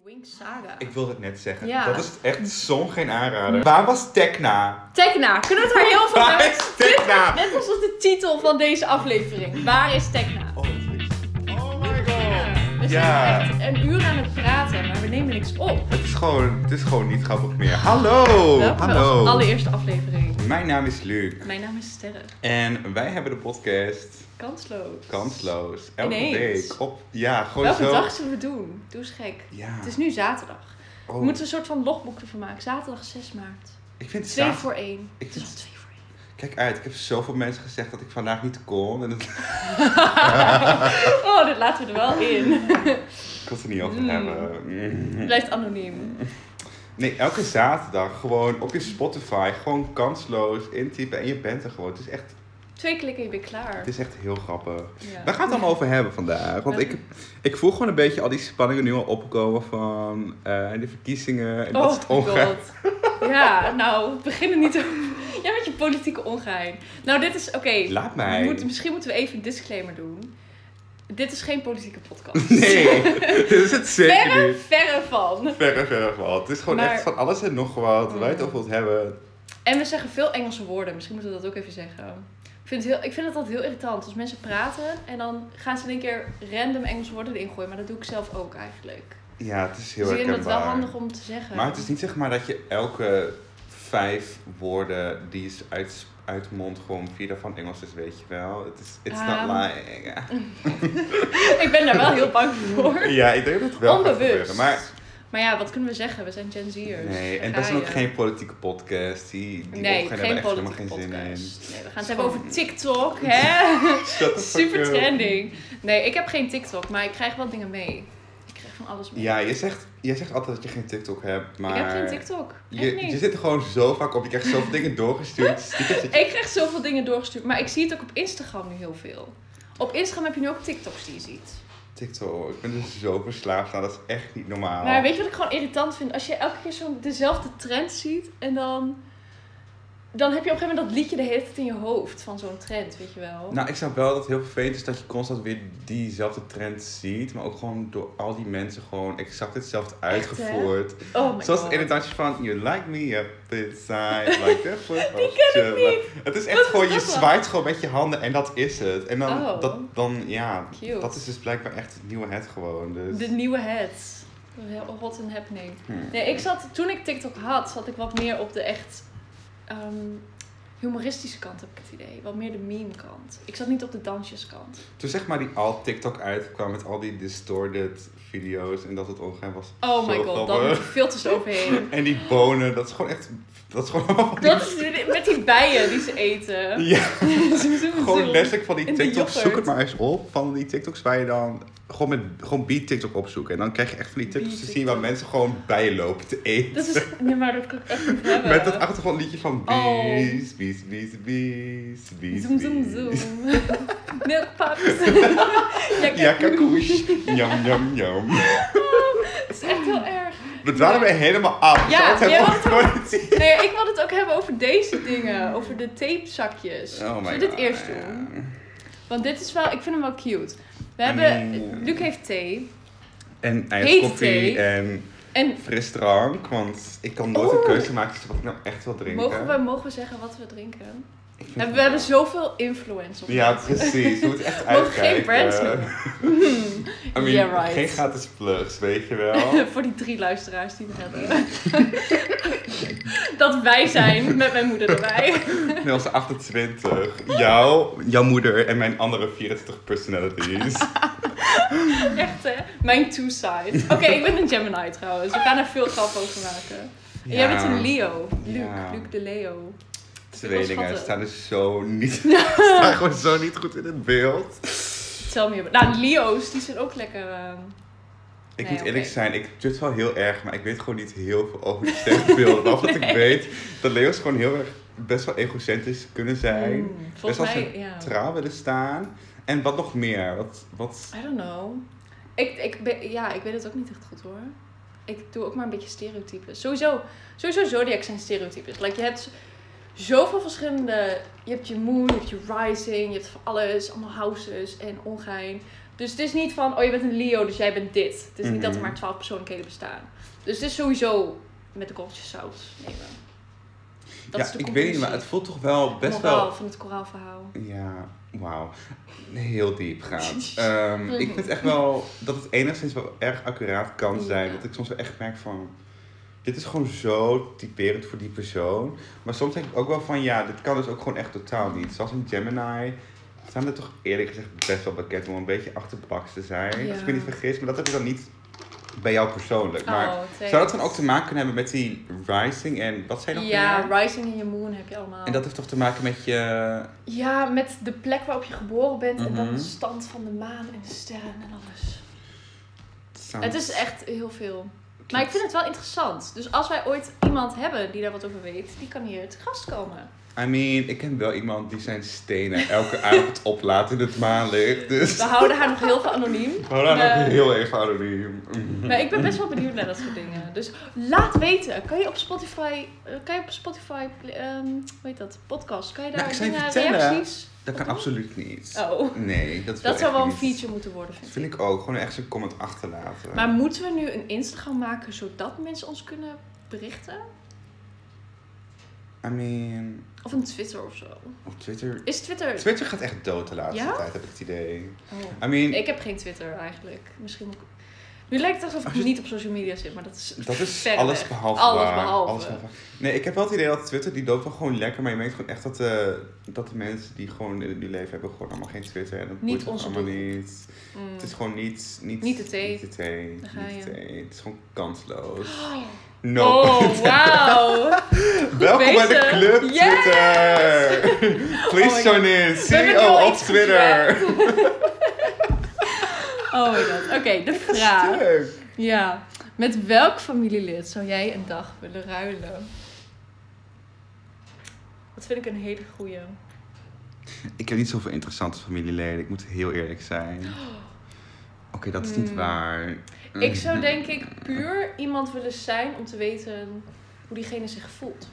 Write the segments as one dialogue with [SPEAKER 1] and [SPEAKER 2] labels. [SPEAKER 1] fucking saga.
[SPEAKER 2] Ik wilde het net zeggen.
[SPEAKER 1] Ja.
[SPEAKER 2] Dat is echt zo'n geen aanrader. Waar was Tekna?
[SPEAKER 1] Tekna, kunnen we het Oh, daar heel veel
[SPEAKER 2] Waar
[SPEAKER 1] hebben?
[SPEAKER 2] is Tekna?
[SPEAKER 1] Net als de titel van deze aflevering. Waar is Tekna?
[SPEAKER 2] Oh, dat is- oh my
[SPEAKER 1] Ja, We
[SPEAKER 2] god.
[SPEAKER 1] zijn
[SPEAKER 2] Ja.
[SPEAKER 1] echt
[SPEAKER 2] Oh,
[SPEAKER 1] een uur aan het praten, maar we nemen niks op.
[SPEAKER 2] Het is gewoon, het is gewoon niet grappig meer. Hallo.
[SPEAKER 1] Welkom bij
[SPEAKER 2] Hallo.
[SPEAKER 1] onze allereerste aflevering.
[SPEAKER 2] Mijn naam is Luc.
[SPEAKER 1] Mijn naam is Sterre.
[SPEAKER 2] En wij hebben de podcast
[SPEAKER 1] Kansloos.
[SPEAKER 2] Kansloos. Elke
[SPEAKER 1] Ineens.
[SPEAKER 2] week op. Ja, gewoon
[SPEAKER 1] Welke
[SPEAKER 2] zo.
[SPEAKER 1] dag zullen we doen? Doe eens gek.
[SPEAKER 2] Ja.
[SPEAKER 1] Het is nu zaterdag.
[SPEAKER 2] Oh,
[SPEAKER 1] We moeten een soort van logboek ervan maken. Zaterdag 6 maart.
[SPEAKER 2] Ik vind het
[SPEAKER 1] 2
[SPEAKER 2] zaterdag.
[SPEAKER 1] voor 1.
[SPEAKER 2] Ik
[SPEAKER 1] Het is
[SPEAKER 2] vind-
[SPEAKER 1] al 2 voor 1.
[SPEAKER 2] Kijk uit, ik heb zoveel mensen gezegd dat ik vandaag niet kon. En dat,
[SPEAKER 1] Oh, dit laten we er wel in.
[SPEAKER 2] ik kon het er niet over
[SPEAKER 1] Mm.
[SPEAKER 2] hebben. Mm.
[SPEAKER 1] Blijft anoniem.
[SPEAKER 2] Nee, elke zaterdag gewoon op je Spotify, gewoon kansloos intypen en je bent er gewoon. Het is echt,
[SPEAKER 1] Twee klikken en je bent klaar.
[SPEAKER 2] het is echt heel grappig.
[SPEAKER 1] Ja.
[SPEAKER 2] Waar gaan we het allemaal over hebben vandaag? Want ik, ik voel gewoon een beetje al die spanningen nu al opkomen van eh, de verkiezingen en dat is het
[SPEAKER 1] Oh my
[SPEAKER 2] ongeveer.
[SPEAKER 1] god. Ja, nou, we beginnen niet over... Ja, met je politieke ongeheim. Nou, dit is... Oké,
[SPEAKER 2] Laat
[SPEAKER 1] we
[SPEAKER 2] mij.
[SPEAKER 1] moeten- misschien moeten we even een disclaimer doen. Dit is geen politieke podcast.
[SPEAKER 2] Nee, dit is het zeker
[SPEAKER 1] Verre,
[SPEAKER 2] niet.
[SPEAKER 1] verre van.
[SPEAKER 2] Verre, verre van. Het is gewoon
[SPEAKER 1] Maar-
[SPEAKER 2] echt van alles en nog wat.
[SPEAKER 1] Mm.
[SPEAKER 2] Wij het over ons hebben.
[SPEAKER 1] En we zeggen veel Engelse woorden. Misschien moeten we dat ook even zeggen. Ik vind, het heel, ik vind het altijd heel irritant als mensen praten en dan gaan ze in één keer random Engelse woorden erin gooien. Maar dat doe ik zelf ook eigenlijk.
[SPEAKER 2] Ja, het is heel
[SPEAKER 1] Dus ik vind
[SPEAKER 2] herkenbaar.
[SPEAKER 1] het wel handig om te zeggen.
[SPEAKER 2] Maar het is niet zeg maar dat je elke vijf woorden die is uit, uit mond gewoon vier daarvan Engels is, weet je wel. Het is it's
[SPEAKER 1] Ehm.
[SPEAKER 2] not lying.
[SPEAKER 1] Ik ben daar wel heel bang voor.
[SPEAKER 2] Ja, ik denk dat het wel gaat
[SPEAKER 1] Onbewust.
[SPEAKER 2] gebeuren, Maar
[SPEAKER 1] Maar ja, wat kunnen we zeggen? We zijn Gen Z'ers.
[SPEAKER 2] nee, en
[SPEAKER 1] Daar ga
[SPEAKER 2] dat is dan ook
[SPEAKER 1] je.
[SPEAKER 2] geen politieke podcast. Die, die
[SPEAKER 1] Nee,
[SPEAKER 2] opgaan
[SPEAKER 1] geen
[SPEAKER 2] hebben echt helemaal
[SPEAKER 1] politieke
[SPEAKER 2] geen zin in.
[SPEAKER 1] podcast. Nee, we gaan het hebben over TikTok, hè?
[SPEAKER 2] Shut the fuck
[SPEAKER 1] Super
[SPEAKER 2] up.
[SPEAKER 1] trending. Nee, ik heb geen TikTok, maar ik krijg wel dingen mee. Ik krijg van alles mee.
[SPEAKER 2] Ja, je zegt, je zegt altijd dat je geen TikTok hebt, maar...
[SPEAKER 1] Ik heb geen TikTok. Echt
[SPEAKER 2] Je,
[SPEAKER 1] niet.
[SPEAKER 2] je zit er gewoon zo vaak op. Je krijgt zoveel dingen doorgestuurd. Stickers dat je-
[SPEAKER 1] Ik krijg zoveel dingen doorgestuurd, maar ik zie het ook op Instagram nu heel veel. Op Instagram heb je nu ook TikToks die je ziet.
[SPEAKER 2] TikTok, ik ben er zo verslaafd aan. Dat is echt niet normaal.
[SPEAKER 1] Maar weet je wat ik gewoon irritant vind? Als je elke keer zo'n dezelfde trend ziet en dan... Dan heb je op een gegeven moment dat liedje de hele tijd in je hoofd van zo'n trend, weet je wel.
[SPEAKER 2] Nou, ik snap wel dat het heel vervelend is dat je constant weer diezelfde trend ziet. Maar ook gewoon door al die mensen gewoon exact hetzelfde uitgevoord.
[SPEAKER 1] oh my
[SPEAKER 2] Zoals
[SPEAKER 1] god.
[SPEAKER 2] in het dansje van You like me up inside, like that foot. Die
[SPEAKER 1] ken ik
[SPEAKER 2] Het is
[SPEAKER 1] Wat
[SPEAKER 2] echt
[SPEAKER 1] is
[SPEAKER 2] gewoon, je
[SPEAKER 1] dat dan?
[SPEAKER 2] zwaait gewoon met je handen en dat is het. En dan,
[SPEAKER 1] Oh.
[SPEAKER 2] dat, dan ja,
[SPEAKER 1] Cute.
[SPEAKER 2] dat is dus blijkbaar echt het nieuwe het gewoon. Dus.
[SPEAKER 1] De nieuwe head. Hot and happening.
[SPEAKER 2] Hmm.
[SPEAKER 1] Nee, ik zat, toen ik TikTok had, zat ik wat meer op de echt ehm, humoristische kant, heb ik het idee. Wat meer de meme kant. Ik zat niet op de dansjeskant.
[SPEAKER 2] Toen zeg maar die al TikTok uitkwam met al die distorted video's en dat het ongeheim was.
[SPEAKER 1] Oh
[SPEAKER 2] zo
[SPEAKER 1] my god, dan moet
[SPEAKER 2] grappig.
[SPEAKER 1] je filters overheen.
[SPEAKER 2] En die bonen, dat is gewoon echt, dat is gewoon allemaal van die
[SPEAKER 1] Dat is die- met die bijen die ze eten.
[SPEAKER 2] Ja,
[SPEAKER 1] Ze moeten
[SPEAKER 2] gewoon
[SPEAKER 1] zo-
[SPEAKER 2] letterlijk van die
[SPEAKER 1] En die
[SPEAKER 2] TikTok.
[SPEAKER 1] yoghurt.
[SPEAKER 2] Zoek het maar eens op. Van die TikToks waar je dan gewoon met gewoon beat TikTok opzoeken. En dan krijg je echt van die TikToks te zien waar
[SPEAKER 1] Beat-TikTok.
[SPEAKER 2] mensen gewoon bijlopen te eten.
[SPEAKER 1] Dat is... Nee, maar dat kan ik echt niet hebben.
[SPEAKER 2] Met dat achtergrondliedje van
[SPEAKER 1] Oh.
[SPEAKER 2] bees, bees, bees, bees, bees,
[SPEAKER 1] Zoom, zoom,
[SPEAKER 2] bees.
[SPEAKER 1] zoom. Milk pups.
[SPEAKER 2] Ja,
[SPEAKER 1] ja, kijk.
[SPEAKER 2] kakoes. Jam, jam, jam.
[SPEAKER 1] Het is echt heel erg.
[SPEAKER 2] We dwalen weer helemaal af.
[SPEAKER 1] Ja,
[SPEAKER 2] dat
[SPEAKER 1] jij
[SPEAKER 2] hebben
[SPEAKER 1] had
[SPEAKER 2] we nooit iets.
[SPEAKER 1] Nee, ik wil het ook hebben over deze dingen. Over de tapezakjes.
[SPEAKER 2] Oh my
[SPEAKER 1] Zullen we dit
[SPEAKER 2] god,
[SPEAKER 1] eerst
[SPEAKER 2] ja.
[SPEAKER 1] doen? Want dit is wel... Ik vind hem wel cute. We
[SPEAKER 2] I
[SPEAKER 1] hebben...
[SPEAKER 2] mean-
[SPEAKER 1] Luc heeft thee.
[SPEAKER 2] En
[SPEAKER 1] Heet
[SPEAKER 2] ijskoffie
[SPEAKER 1] thee.
[SPEAKER 2] en
[SPEAKER 1] En
[SPEAKER 2] frisdrank. Want ik kan nooit een
[SPEAKER 1] Oeh.
[SPEAKER 2] keuze maken tussen wat ik nou echt wil drinken.
[SPEAKER 1] mogen we, mogen we zeggen wat we drinken?
[SPEAKER 2] Ik vind
[SPEAKER 1] We hebben,
[SPEAKER 2] het
[SPEAKER 1] we hebben
[SPEAKER 2] wel-
[SPEAKER 1] zoveel influence op
[SPEAKER 2] Ja,
[SPEAKER 1] ons.
[SPEAKER 2] precies. Je moet echt
[SPEAKER 1] We mogen
[SPEAKER 2] uitkijken.
[SPEAKER 1] geen brands noemen.
[SPEAKER 2] I mean,
[SPEAKER 1] Yeah, right.
[SPEAKER 2] geen gratis plugs, weet je wel.
[SPEAKER 1] Voor die drie luisteraars die we hebben. dat wij zijn met mijn moeder erbij.
[SPEAKER 2] Net als 28. Jou, jouw moeder en mijn andere 24 personalities.
[SPEAKER 1] Echt hè? Mijn two sides. Oké, ik ben een Gemini trouwens. We gaan er veel grap over maken. En jij bent een Leo. Luke.
[SPEAKER 2] Ja.
[SPEAKER 1] Luke de Leo.
[SPEAKER 2] Tweelingen
[SPEAKER 1] Wat
[SPEAKER 2] staan dus zo niet... staan gewoon zo niet goed in het beeld.
[SPEAKER 1] Tell me about Nou, Leo's die zijn ook lekker... eh,
[SPEAKER 2] Ik
[SPEAKER 1] Nee,
[SPEAKER 2] moet eerlijk
[SPEAKER 1] oké.
[SPEAKER 2] zijn, ik jut wel heel erg, maar ik weet gewoon niet heel veel over die sterrenbeelden. Behalve dat ik weet dat leeuws gewoon heel erg best wel egocentrisch kunnen zijn.
[SPEAKER 1] mm,
[SPEAKER 2] best
[SPEAKER 1] volgens
[SPEAKER 2] wel
[SPEAKER 1] mij, ja.
[SPEAKER 2] centraal willen staan. En wat nog meer? Wat, wat...
[SPEAKER 1] I don't know. Ik, ik, ben- ja, ik weet het ook niet echt goed hoor. Ik doe ook maar een beetje stereotypes. Sowieso, sowieso Zodiac zijn stereotypes. Like, je hebt zoveel verschillende... Je hebt je moon, je hebt je rising, je hebt van alles. Allemaal houses en ongein. Dus het is niet van, oh je bent een Leo, dus jij bent dit. Het is niet dat er
[SPEAKER 2] Mhm.
[SPEAKER 1] maar twaalf persoonlijkheden bestaan. Dus het is sowieso met de korreltjes saus nemen. Dat
[SPEAKER 2] ja,
[SPEAKER 1] is de
[SPEAKER 2] ik weet niet, maar het
[SPEAKER 1] conclusie.
[SPEAKER 2] voelt toch wel best
[SPEAKER 1] Moraal
[SPEAKER 2] wel...
[SPEAKER 1] van het koraalverhaal.
[SPEAKER 2] Ja, wauw. Heel diep gaat. Ehm, ik vind echt wel dat het enigszins wel erg accuraat kan zijn.
[SPEAKER 1] Ja.
[SPEAKER 2] Dat ik soms wel echt merk van... Dit is gewoon zo typerend voor die persoon. Maar soms denk ik ook wel van... Ja, dit kan dus ook gewoon echt totaal niet. Zoals in Gemini... Staan er toch eerlijk gezegd best wel bekend om een beetje achterbaks te zijn.
[SPEAKER 1] Ja.
[SPEAKER 2] Als ik me niet vergis. Maar dat heb ik dan niet bij jou persoonlijk. Maar
[SPEAKER 1] Oh, thanks.
[SPEAKER 2] zou dat dan ook te maken kunnen hebben met die rising en... Wat zijn nog
[SPEAKER 1] Ja,
[SPEAKER 2] meer?
[SPEAKER 1] rising in je moon heb je allemaal.
[SPEAKER 2] En dat heeft toch te maken met je...
[SPEAKER 1] Ja, met de plek waarop je geboren bent en dan
[SPEAKER 2] Mhm.
[SPEAKER 1] de stand van de maan en de sterren en alles.
[SPEAKER 2] sound-
[SPEAKER 1] Het is echt heel veel. Maar ik vind het wel interessant. Dus als wij ooit iemand hebben die daar wat over weet, die kan hier te gast komen.
[SPEAKER 2] I mean, ik ken wel iemand die zijn stenen elke avond oplaat in het maanlicht. Dus
[SPEAKER 1] We houden haar nog heel veel anoniem.
[SPEAKER 2] hou dan
[SPEAKER 1] Eh,
[SPEAKER 2] ook heel even anoniem.
[SPEAKER 1] Maar ik ben best
[SPEAKER 2] Mhm.
[SPEAKER 1] wel benieuwd naar dat soort dingen. Dus laat weten. Kan je op Spotify, eh, kan je op Spotify, ehm hoe heet dat, podcast, kan je daar
[SPEAKER 2] Nou, ik zou je
[SPEAKER 1] dingen,
[SPEAKER 2] vertellen.
[SPEAKER 1] reacties?
[SPEAKER 2] Dat kan absoluut niet.
[SPEAKER 1] Oh,
[SPEAKER 2] Nee, dat,
[SPEAKER 1] dat zou wel een
[SPEAKER 2] feature.
[SPEAKER 1] feature moeten worden,
[SPEAKER 2] Dat
[SPEAKER 1] vind ik.
[SPEAKER 2] vind ik ook. Gewoon echt zo'n comment achterlaten.
[SPEAKER 1] Maar moeten we nu een Instagram maken zodat mensen ons kunnen berichten?
[SPEAKER 2] I mean,
[SPEAKER 1] Of een Twitter of zo?
[SPEAKER 2] op Twitter...
[SPEAKER 1] Is Twitter...
[SPEAKER 2] Twitter gaat echt dood de laatste
[SPEAKER 1] Ja?
[SPEAKER 2] tijd, heb ik het idee.
[SPEAKER 1] Oh.
[SPEAKER 2] I mean,
[SPEAKER 1] Ik heb geen Twitter eigenlijk. Misschien moet ik... Nu lijkt het alsof
[SPEAKER 2] Als
[SPEAKER 1] ik
[SPEAKER 2] je-
[SPEAKER 1] niet op social media zit, maar dat is...
[SPEAKER 2] dat is
[SPEAKER 1] Verder
[SPEAKER 2] alles
[SPEAKER 1] weg.
[SPEAKER 2] behalve
[SPEAKER 1] Alles
[SPEAKER 2] waar.
[SPEAKER 1] behalve.
[SPEAKER 2] Alles Nee, ik heb wel het idee dat Twitter, die loopt wel gewoon lekker. Maar je merkt gewoon echt dat, eh, dat de mensen die gewoon in die leven hebben gewoon allemaal geen Twitter. En dat
[SPEAKER 1] Niet
[SPEAKER 2] boeit ook
[SPEAKER 1] onze
[SPEAKER 2] allemaal
[SPEAKER 1] doelgroep.
[SPEAKER 2] niet.
[SPEAKER 1] Mm.
[SPEAKER 2] Het is gewoon niet... Niet,
[SPEAKER 1] Niet de thee.
[SPEAKER 2] Niet de thee.
[SPEAKER 1] Daar ga
[SPEAKER 2] niet de
[SPEAKER 1] je.
[SPEAKER 2] thee. Het is gewoon kansloos.
[SPEAKER 1] Oh,
[SPEAKER 2] No.
[SPEAKER 1] wauw!
[SPEAKER 2] Welkom bij de
[SPEAKER 1] bezig.
[SPEAKER 2] club
[SPEAKER 1] Yes! Oh
[SPEAKER 2] Twitter. Please
[SPEAKER 1] my
[SPEAKER 2] join in.
[SPEAKER 1] hebben nu al
[SPEAKER 2] CEO op
[SPEAKER 1] iets
[SPEAKER 2] Twitter.
[SPEAKER 1] Oh my god. Oké, de vraag.
[SPEAKER 2] Leuk.
[SPEAKER 1] Ja. Met welk familielid zou jij een dag willen ruilen? Dat vind ik een hele goeie.
[SPEAKER 2] Ik heb niet zoveel interessante familieleden. Ik moet heel eerlijk zijn. Oké, dat is niet
[SPEAKER 1] Mm.
[SPEAKER 2] waar. Mm-hmm.
[SPEAKER 1] Ik zou
[SPEAKER 2] Mhm.
[SPEAKER 1] denk ik puur iemand willen zijn om te weten hoe diegene zich voelt.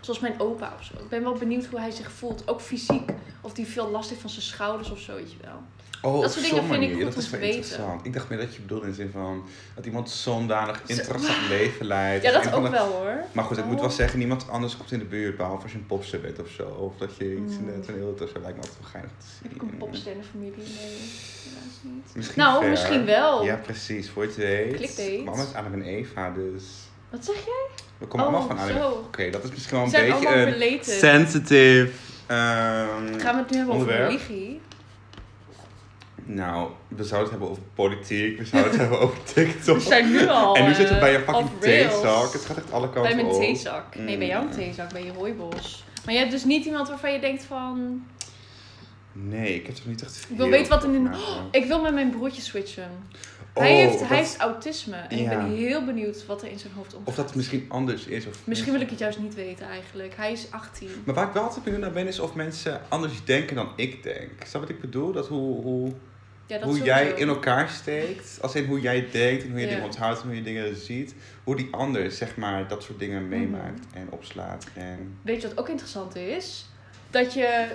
[SPEAKER 1] Zoals mijn opa of zo. Ik ben wel benieuwd hoe hij zich voelt. Ook fysiek. Of die veel last heeft van zijn schouders of zo, weet je wel.
[SPEAKER 2] Oh,
[SPEAKER 1] dat soort dingen
[SPEAKER 2] zo'n
[SPEAKER 1] vind ik
[SPEAKER 2] manier.
[SPEAKER 1] goed
[SPEAKER 2] Dat is
[SPEAKER 1] om
[SPEAKER 2] wel
[SPEAKER 1] te weten.
[SPEAKER 2] interessant. Ik dacht meer dat je bedoelde in de zin van... dat iemand zo'n danig
[SPEAKER 1] Zo-
[SPEAKER 2] interessant leven leidt.
[SPEAKER 1] Ja,
[SPEAKER 2] Of
[SPEAKER 1] dat
[SPEAKER 2] een van
[SPEAKER 1] ook
[SPEAKER 2] de-
[SPEAKER 1] wel hoor.
[SPEAKER 2] Maar goed, ik
[SPEAKER 1] Oh.
[SPEAKER 2] moet wel zeggen, niemand anders komt in de buurt, behalve als je een popster bent of zo. Of dat je iets in
[SPEAKER 1] Mm.
[SPEAKER 2] de toneel of zo lijkt me altijd wel geinig te zien.
[SPEAKER 1] Heb ik een popster in de familie? Nee, helaas niet.
[SPEAKER 2] Misschien
[SPEAKER 1] nou,
[SPEAKER 2] ver.
[SPEAKER 1] misschien wel.
[SPEAKER 2] Ja, precies. Voor je het weet.
[SPEAKER 1] Clickbait.
[SPEAKER 2] Mama is Adam en Eva, dus
[SPEAKER 1] Wat zeg jij?
[SPEAKER 2] we komen
[SPEAKER 1] Oh,
[SPEAKER 2] allemaal van Adam. en- Oké,
[SPEAKER 1] zo.
[SPEAKER 2] dat is misschien wel
[SPEAKER 1] We
[SPEAKER 2] een
[SPEAKER 1] zijn
[SPEAKER 2] beetje
[SPEAKER 1] allemaal
[SPEAKER 2] een
[SPEAKER 1] related.
[SPEAKER 2] sensitive... ehm,
[SPEAKER 1] Gaan we het nu hebben over
[SPEAKER 2] onderwerp.
[SPEAKER 1] religie?
[SPEAKER 2] Nou, we zouden het hebben over politiek, we zouden het hebben over TikTok.
[SPEAKER 1] We zijn nu al.
[SPEAKER 2] en nu zitten we bij
[SPEAKER 1] eh,
[SPEAKER 2] je fucking
[SPEAKER 1] off rails.
[SPEAKER 2] theezak. Het gaat echt alle kanten
[SPEAKER 1] Bij mijn
[SPEAKER 2] op.
[SPEAKER 1] theezak. Nee, bij jouw
[SPEAKER 2] Mm.
[SPEAKER 1] theezak, bij je rooibos. Maar je hebt dus niet iemand waarvan je denkt van...
[SPEAKER 2] Nee, ik heb toch niet echt veel
[SPEAKER 1] Ik wil weten wat er nu-
[SPEAKER 2] over nagedacht.
[SPEAKER 1] Ik wil met mijn broertje switchen.
[SPEAKER 2] Oh,
[SPEAKER 1] hij, heeft,
[SPEAKER 2] dat-
[SPEAKER 1] hij heeft autisme. En ik
[SPEAKER 2] Ja.
[SPEAKER 1] ben heel benieuwd wat er in zijn hoofd omgaat.
[SPEAKER 2] Of dat het misschien anders is. Of
[SPEAKER 1] Misschien wil ik het juist niet weten eigenlijk. Hij is 18.
[SPEAKER 2] Maar waar ik wel altijd benieuwd naar ben, is of mensen anders denken dan ik denk. Snap wat ik bedoel? Dat hoe, hoe,
[SPEAKER 1] Ja, dat
[SPEAKER 2] hoe
[SPEAKER 1] sowieso.
[SPEAKER 2] jij in elkaar steekt. Als in hoe jij denkt en hoe je
[SPEAKER 1] Ja.
[SPEAKER 2] dingen onthoudt en hoe je dingen ziet. Hoe die ander, zeg maar, dat soort
[SPEAKER 1] Mhm.
[SPEAKER 2] dingen meemaakt en opslaat. En...
[SPEAKER 1] Weet je wat ook interessant is? Dat je,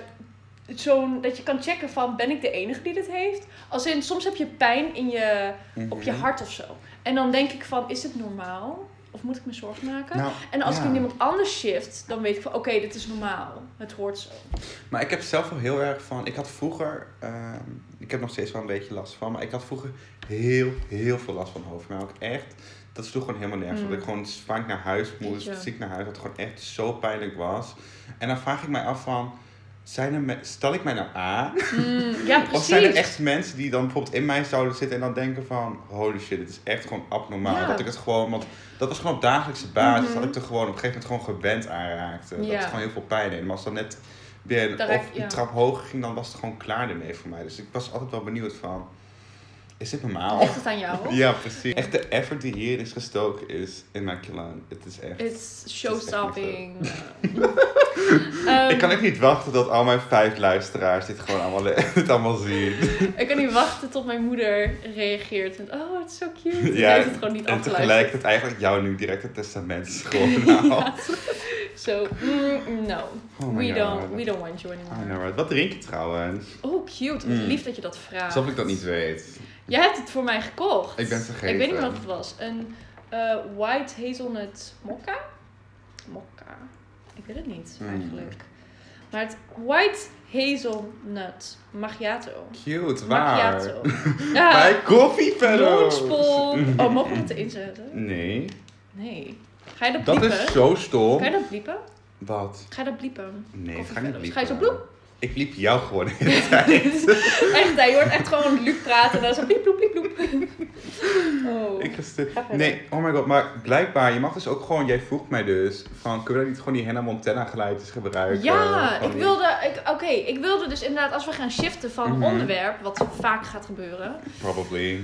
[SPEAKER 1] zo'n, dat je kan checken van ben ik de enige die dit heeft? Als in, soms heb je pijn in je, op je
[SPEAKER 2] Mhm.
[SPEAKER 1] hart of zo. En dan denk ik van, is dit normaal? Of moet ik me zorgen maken?
[SPEAKER 2] Nou,
[SPEAKER 1] en als ik
[SPEAKER 2] ja.
[SPEAKER 1] in iemand anders shift, dan weet ik van oké, dit is normaal. Het hoort zo.
[SPEAKER 2] Maar ik heb zelf wel heel erg van. Ik had vroeger. ehm, ik heb nog steeds wel een beetje last van. Maar ik had vroeger heel, heel veel last van hoofdpijn. Maar ook echt. Dat sloeg gewoon helemaal nergens. op.
[SPEAKER 1] Mm.
[SPEAKER 2] Dat ik gewoon vaak naar huis moest.
[SPEAKER 1] Jeetje.
[SPEAKER 2] Ziek naar huis. Dat het gewoon echt zo pijnlijk was. En dan vraag ik mij af van. Zijn er me- stel ik mij nou aan?
[SPEAKER 1] Mm, ja, precies.
[SPEAKER 2] Of zijn er echt mensen die dan bijvoorbeeld in mij zouden zitten en dan denken van... Holy shit, dit is echt gewoon abnormaal.
[SPEAKER 1] Ja.
[SPEAKER 2] Dat ik het gewoon... Want dat was gewoon op dagelijkse basis.
[SPEAKER 1] Mhm.
[SPEAKER 2] Dat ik er gewoon op een gegeven moment gewoon gewend aan raakte. Dat
[SPEAKER 1] Ja.
[SPEAKER 2] het gewoon heel veel pijn deed. Maar als dan net weer een,
[SPEAKER 1] Daar
[SPEAKER 2] of
[SPEAKER 1] raak-
[SPEAKER 2] een
[SPEAKER 1] ja.
[SPEAKER 2] trap hoger ging, dan was het gewoon klaar ermee voor mij. Dus ik was altijd wel benieuwd van... Is dit normaal?
[SPEAKER 1] Ligt het aan jou?
[SPEAKER 2] Ja, precies. Echt de effort die hierin is gestoken is in mijn kilaan. Het is
[SPEAKER 1] Ehm.
[SPEAKER 2] echt...
[SPEAKER 1] It's
[SPEAKER 2] showstopping.
[SPEAKER 1] showstopping. Ehm,
[SPEAKER 2] Ik kan echt niet wachten tot al mijn vijf luisteraars dit gewoon allemaal, dit allemaal zien.
[SPEAKER 1] ik kan niet wachten tot mijn moeder reageert. En, oh, het is zo cute.
[SPEAKER 2] Ja,
[SPEAKER 1] Ja, heeft het gewoon niet
[SPEAKER 2] En
[SPEAKER 1] afgeluisterd.
[SPEAKER 2] tegelijkertijd eigenlijk jou nu direct het testament schoonhaalt.
[SPEAKER 1] Zo, mm, no.
[SPEAKER 2] Oh my
[SPEAKER 1] We
[SPEAKER 2] God.
[SPEAKER 1] don't, we don't want you
[SPEAKER 2] I
[SPEAKER 1] anymore.
[SPEAKER 2] know it. Wat drink je trouwens?
[SPEAKER 1] Oh, cute. Wat
[SPEAKER 2] Mm.
[SPEAKER 1] lief dat je dat vraagt.
[SPEAKER 2] Alsof ik dat niet weet.
[SPEAKER 1] Jij hebt het voor mij gekocht.
[SPEAKER 2] Ik ben het vergeten.
[SPEAKER 1] Ik weet niet meer wat het was. Een eh, white hazelnut mokka? Mokka? Ik weet het niet
[SPEAKER 2] Mm.
[SPEAKER 1] eigenlijk. Maar het white hazelnut macchiato.
[SPEAKER 2] Cute, waar?
[SPEAKER 1] Macchiato. Ja,
[SPEAKER 2] Bij koffie
[SPEAKER 1] Lonspon. Oh, mogen we het erin zetten?
[SPEAKER 2] Nee.
[SPEAKER 1] Nee. Ga je dat
[SPEAKER 2] Dat
[SPEAKER 1] bliepen?
[SPEAKER 2] is zo
[SPEAKER 1] Ga je
[SPEAKER 2] stom.
[SPEAKER 1] dat bliepen?
[SPEAKER 2] Wat?
[SPEAKER 1] Ga je dat bliepen?
[SPEAKER 2] Nee, ik
[SPEAKER 1] Koffie
[SPEAKER 2] ga niet
[SPEAKER 1] verder.
[SPEAKER 2] liepen.
[SPEAKER 1] Ga je zo bloem?
[SPEAKER 2] Ik liep jou gewoon.
[SPEAKER 1] echt, hè, je hoort echt gewoon Luc praten en dan zo bliep, bloep, bliep, bloep. Oh.
[SPEAKER 2] ik gestu-
[SPEAKER 1] Ga verder.
[SPEAKER 2] Nee, oh my god. Maar blijkbaar, je mag dus ook gewoon... Jij vroeg mij dus van... Kunnen we niet gewoon die Hannah Montana geluidjes gebruiken?
[SPEAKER 1] Ja,
[SPEAKER 2] Gewoon
[SPEAKER 1] ik wilde, ik- oké, ik wilde dus inderdaad, als we gaan shiften van
[SPEAKER 2] Mhm.
[SPEAKER 1] onderwerp, wat vaak gaat gebeuren,
[SPEAKER 2] die- Probably.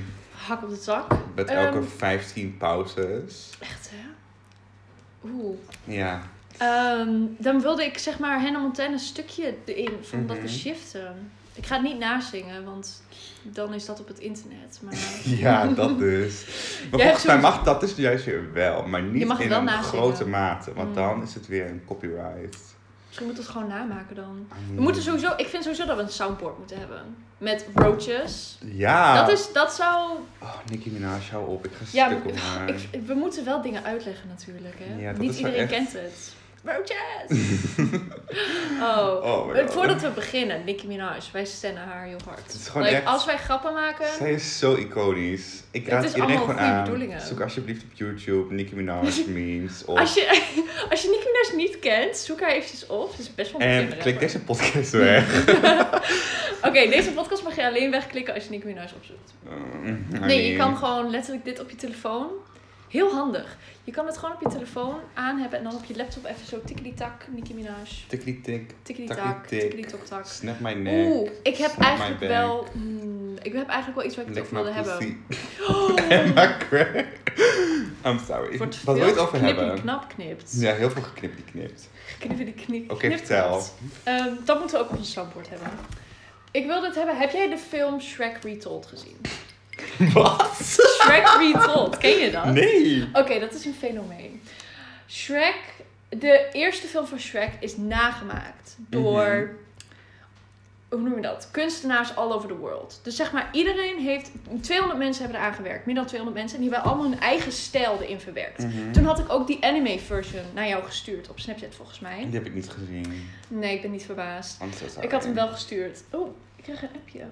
[SPEAKER 1] hak op de zak.
[SPEAKER 2] Met
[SPEAKER 1] Ehm.
[SPEAKER 2] elke 15 pauzes.
[SPEAKER 1] Echt, hè? Oeh.
[SPEAKER 2] Ja.
[SPEAKER 1] Ehm, dan wilde ik zeg maar Hannah Montana een stukje erin, van dat we
[SPEAKER 2] Mhm.
[SPEAKER 1] shiften. Ik ga het niet nazingen, want dan is dat op het internet. Maar
[SPEAKER 2] Ja, dat dus. Maar
[SPEAKER 1] Jij hebt
[SPEAKER 2] volgens mij
[SPEAKER 1] zo'n-
[SPEAKER 2] mag dat dus juist weer wel. Maar
[SPEAKER 1] Je
[SPEAKER 2] niet
[SPEAKER 1] mag het
[SPEAKER 2] in
[SPEAKER 1] wel
[SPEAKER 2] een
[SPEAKER 1] nazingen.
[SPEAKER 2] grote mate. Want
[SPEAKER 1] Mm.
[SPEAKER 2] dan is het weer een copyright.
[SPEAKER 1] misschien moeten we het gewoon namaken dan. We moeten sowieso, ik vind sowieso dat we een soundboard moeten hebben. Met roaches.
[SPEAKER 2] Ja.
[SPEAKER 1] Dat, is, dat zou
[SPEAKER 2] Oh, Nicki Minaj, hou op. Ik ga
[SPEAKER 1] Ja,
[SPEAKER 2] stuk
[SPEAKER 1] maar-
[SPEAKER 2] om haar.
[SPEAKER 1] Ik, ik- we moeten wel dingen uitleggen natuurlijk, hè?
[SPEAKER 2] Ja, dat
[SPEAKER 1] Niet
[SPEAKER 2] is wel
[SPEAKER 1] iedereen
[SPEAKER 2] echt-
[SPEAKER 1] kent het. Roaches! oh.
[SPEAKER 2] Oh my
[SPEAKER 1] Maar
[SPEAKER 2] god.
[SPEAKER 1] Voordat we beginnen, Nicki Minaj, wij stennen haar heel hard.
[SPEAKER 2] Het is gewoon
[SPEAKER 1] Like,
[SPEAKER 2] echt-
[SPEAKER 1] Als wij grappen maken,
[SPEAKER 2] Zij is zo iconisch. Ik
[SPEAKER 1] Het
[SPEAKER 2] raad
[SPEAKER 1] is
[SPEAKER 2] iedereen
[SPEAKER 1] allemaal
[SPEAKER 2] gewoon
[SPEAKER 1] goede
[SPEAKER 2] aan.
[SPEAKER 1] bedoelingen.
[SPEAKER 2] Zoek alsjeblieft op YouTube Nicki Minaj memes op.
[SPEAKER 1] als, je, als je Nicki Minaj niet kent, zoek haar eventjes op. Ze is best wel een bekende
[SPEAKER 2] En klik
[SPEAKER 1] rapper.
[SPEAKER 2] deze podcast weg.
[SPEAKER 1] Oké, deze podcast mag je alleen wegklikken als je Nicki Minaj opzoekt. Nee, je kan gewoon letterlijk dit op je telefoon. Heel handig. Je kan het gewoon op je telefoon aan hebben en dan op je laptop even zo tikkie-tak, Nicki Minaj.
[SPEAKER 2] Tikkie tik,
[SPEAKER 1] Tikkie-tak,
[SPEAKER 2] Tikkie-tik.
[SPEAKER 1] tikkie-tok-tak.
[SPEAKER 2] snap my neck.
[SPEAKER 1] Oeh, ik heb
[SPEAKER 2] Snap my
[SPEAKER 1] eigenlijk
[SPEAKER 2] back.
[SPEAKER 1] wel. hmm, ik heb eigenlijk wel iets waar ik het
[SPEAKER 2] Lick
[SPEAKER 1] over
[SPEAKER 2] my
[SPEAKER 1] wilde hebben. Oh,
[SPEAKER 2] pussy. Emma Craig. I'm sorry.
[SPEAKER 1] Wordt
[SPEAKER 2] Wat wil je het
[SPEAKER 1] veel
[SPEAKER 2] over
[SPEAKER 1] geknipt en
[SPEAKER 2] hebben?
[SPEAKER 1] knap knipt.
[SPEAKER 2] Ja, heel veel geknipt die knipt.
[SPEAKER 1] Knippen die knie.
[SPEAKER 2] Oké,
[SPEAKER 1] knipt
[SPEAKER 2] vertel.
[SPEAKER 1] knapt. Ehm, dat moeten we ook op ons soundboard hebben. Ik wilde het hebben. Heb jij de film Shrek Retold gezien?
[SPEAKER 2] Wat?
[SPEAKER 1] Shrek Retold, ken je dat?
[SPEAKER 2] Nee.
[SPEAKER 1] Oké, dat is een fenomeen. Shrek, de eerste film van Shrek is nagemaakt door, hoe noem je dat, kunstenaars all over the world. Dus zeg maar, iedereen heeft, 200 mensen hebben eraan gewerkt, meer dan 200 mensen, en die hebben allemaal hun eigen stijl erin verwerkt.
[SPEAKER 2] Mhm.
[SPEAKER 1] Mhm. Toen had ik ook die anime version naar jou gestuurd op Snapchat volgens mij.
[SPEAKER 2] Die heb ik niet gezien.
[SPEAKER 1] Nee, ik ben niet verbaasd.
[SPEAKER 2] I'm so sorry.
[SPEAKER 1] Ik had hem wel gestuurd. Oh, ik kreeg een appje.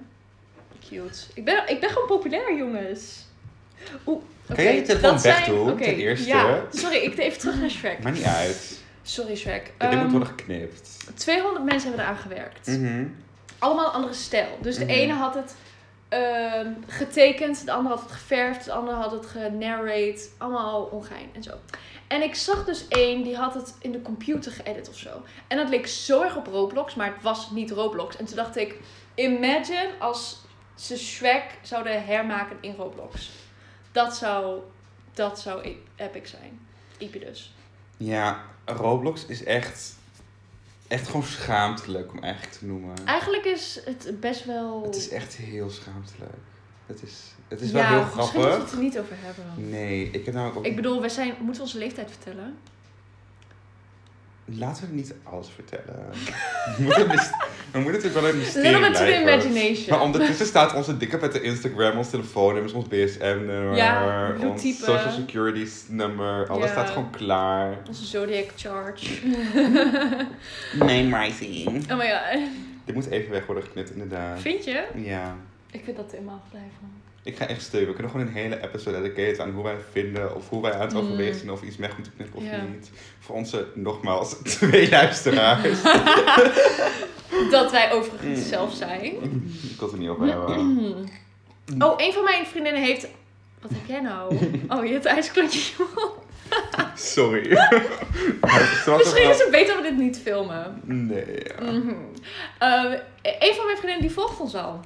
[SPEAKER 1] Cute. Ik ben, ik ben gewoon populair, jongens. Oeh,
[SPEAKER 2] Kan jij je telefoon
[SPEAKER 1] dat zijn-
[SPEAKER 2] wegdoen,
[SPEAKER 1] oké,
[SPEAKER 2] ten eerste?
[SPEAKER 1] Ja, sorry, ik even terug naar Shrek.
[SPEAKER 2] Maakt niet uit.
[SPEAKER 1] Sorry, Shrek.
[SPEAKER 2] Dit ding
[SPEAKER 1] Ehm,
[SPEAKER 2] moet worden geknipt.
[SPEAKER 1] 200 mensen hebben eraan gewerkt.
[SPEAKER 2] Mhm.
[SPEAKER 1] Allemaal andere stijl. Dus de
[SPEAKER 2] Mhm.
[SPEAKER 1] ene had het ehm, getekend, de andere had het geverfd, de andere had het genarrate. Allemaal ongein en zo. En ik zag dus één die had het in de computer geëdit of zo. En dat leek zo erg op Roblox, maar het was niet Roblox. En toen dacht ik, imagine als ze Shrek zouden hermaken in Roblox. Dat zou, dat zou e- epic zijn. Iepie dus.
[SPEAKER 2] Ja, Roblox is echt... Echt gewoon schaamtelijk om eigenlijk te noemen.
[SPEAKER 1] Eigenlijk is het best wel...
[SPEAKER 2] Het is echt heel schaamtelijk. Het is, het is
[SPEAKER 1] ja,
[SPEAKER 2] wel heel
[SPEAKER 1] misschien moeten we
[SPEAKER 2] grappig.
[SPEAKER 1] het er niet over hebben.
[SPEAKER 2] Nee, ik heb namelijk ook...
[SPEAKER 1] Ik bedoel, we zijn, moeten we onze leeftijd vertellen?
[SPEAKER 2] Laten we niet alles vertellen. We moeten, mis- we moeten natuurlijk wel een mysterie
[SPEAKER 1] Little bit to the
[SPEAKER 2] blijven.
[SPEAKER 1] imagination.
[SPEAKER 2] Maar ondertussen staat onze dikke vette Instagram, ons telefoonnummers, ons BSM-nummer,
[SPEAKER 1] Ja,
[SPEAKER 2] ons
[SPEAKER 1] bloedtype.
[SPEAKER 2] social security nummer, alles
[SPEAKER 1] Ja.
[SPEAKER 2] staat gewoon klaar.
[SPEAKER 1] Onze zodiac charge.
[SPEAKER 2] Name rising.
[SPEAKER 1] oh my god.
[SPEAKER 2] Dit moet even weg worden geknipt, inderdaad.
[SPEAKER 1] Vind je?
[SPEAKER 2] Ja.
[SPEAKER 1] Ik vind dat helemaal blijven.
[SPEAKER 2] Ik ga echt steunen. We kunnen gewoon een hele episode dedicaten aan hoe wij het vinden of hoe wij aan het
[SPEAKER 1] Mm.
[SPEAKER 2] overwegen zijn of we iets weg moeten knippen of
[SPEAKER 1] Ja.
[SPEAKER 2] niet. Voor onze, nogmaals, twee luisteraars.
[SPEAKER 1] Dat wij
[SPEAKER 2] Mm.
[SPEAKER 1] overigens zelf zijn.
[SPEAKER 2] Ik wil het er niet over hebben.
[SPEAKER 1] Oh, een van mijn vriendinnen heeft... Wat heb jij nou? Oh, je hebt een ijsklontje.
[SPEAKER 2] Sorry. Maar zoals
[SPEAKER 1] Misschien
[SPEAKER 2] we-
[SPEAKER 1] is het beter dat we dit niet filmen.
[SPEAKER 2] Nee. ja.
[SPEAKER 1] Mhm. Eh, een van mijn vriendinnen die volgt ons al.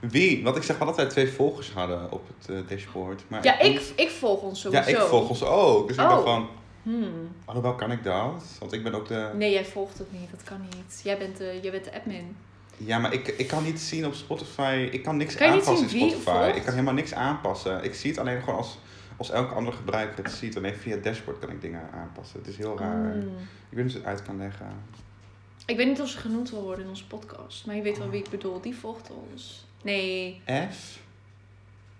[SPEAKER 2] Wie? Want ik zeg wel dat wij twee volgers hadden op het eh, dashboard. Maar
[SPEAKER 1] Ja, ik, ik volg ons
[SPEAKER 2] Ja,
[SPEAKER 1] sowieso.
[SPEAKER 2] ik volg ons ook. Dus ik
[SPEAKER 1] Oh.
[SPEAKER 2] dacht van,
[SPEAKER 1] Hmm.
[SPEAKER 2] alhoewel kan ik dat? Want ik ben ook de...
[SPEAKER 1] Nee, jij volgt het niet. Dat kan niet. Jij bent de, jij bent de admin.
[SPEAKER 2] Ja, maar ik, ik kan niet zien op Spotify. Ik kan niks
[SPEAKER 1] Kan je niet
[SPEAKER 2] aanpassen
[SPEAKER 1] zien
[SPEAKER 2] in
[SPEAKER 1] wie
[SPEAKER 2] Spotify.
[SPEAKER 1] volgt?
[SPEAKER 2] Ik kan helemaal niks aanpassen. Ik zie het alleen gewoon als als elke andere gebruiker het ziet, alleen via het dashboard kan ik dingen aanpassen. Het is heel raar.
[SPEAKER 1] Mm.
[SPEAKER 2] Ik weet niet of ik het uit kan leggen.
[SPEAKER 1] Ik weet niet of ze genoemd wil worden in onze podcast. Maar je weet wel wie ik bedoel. Die volgt ons. Nee.
[SPEAKER 2] F?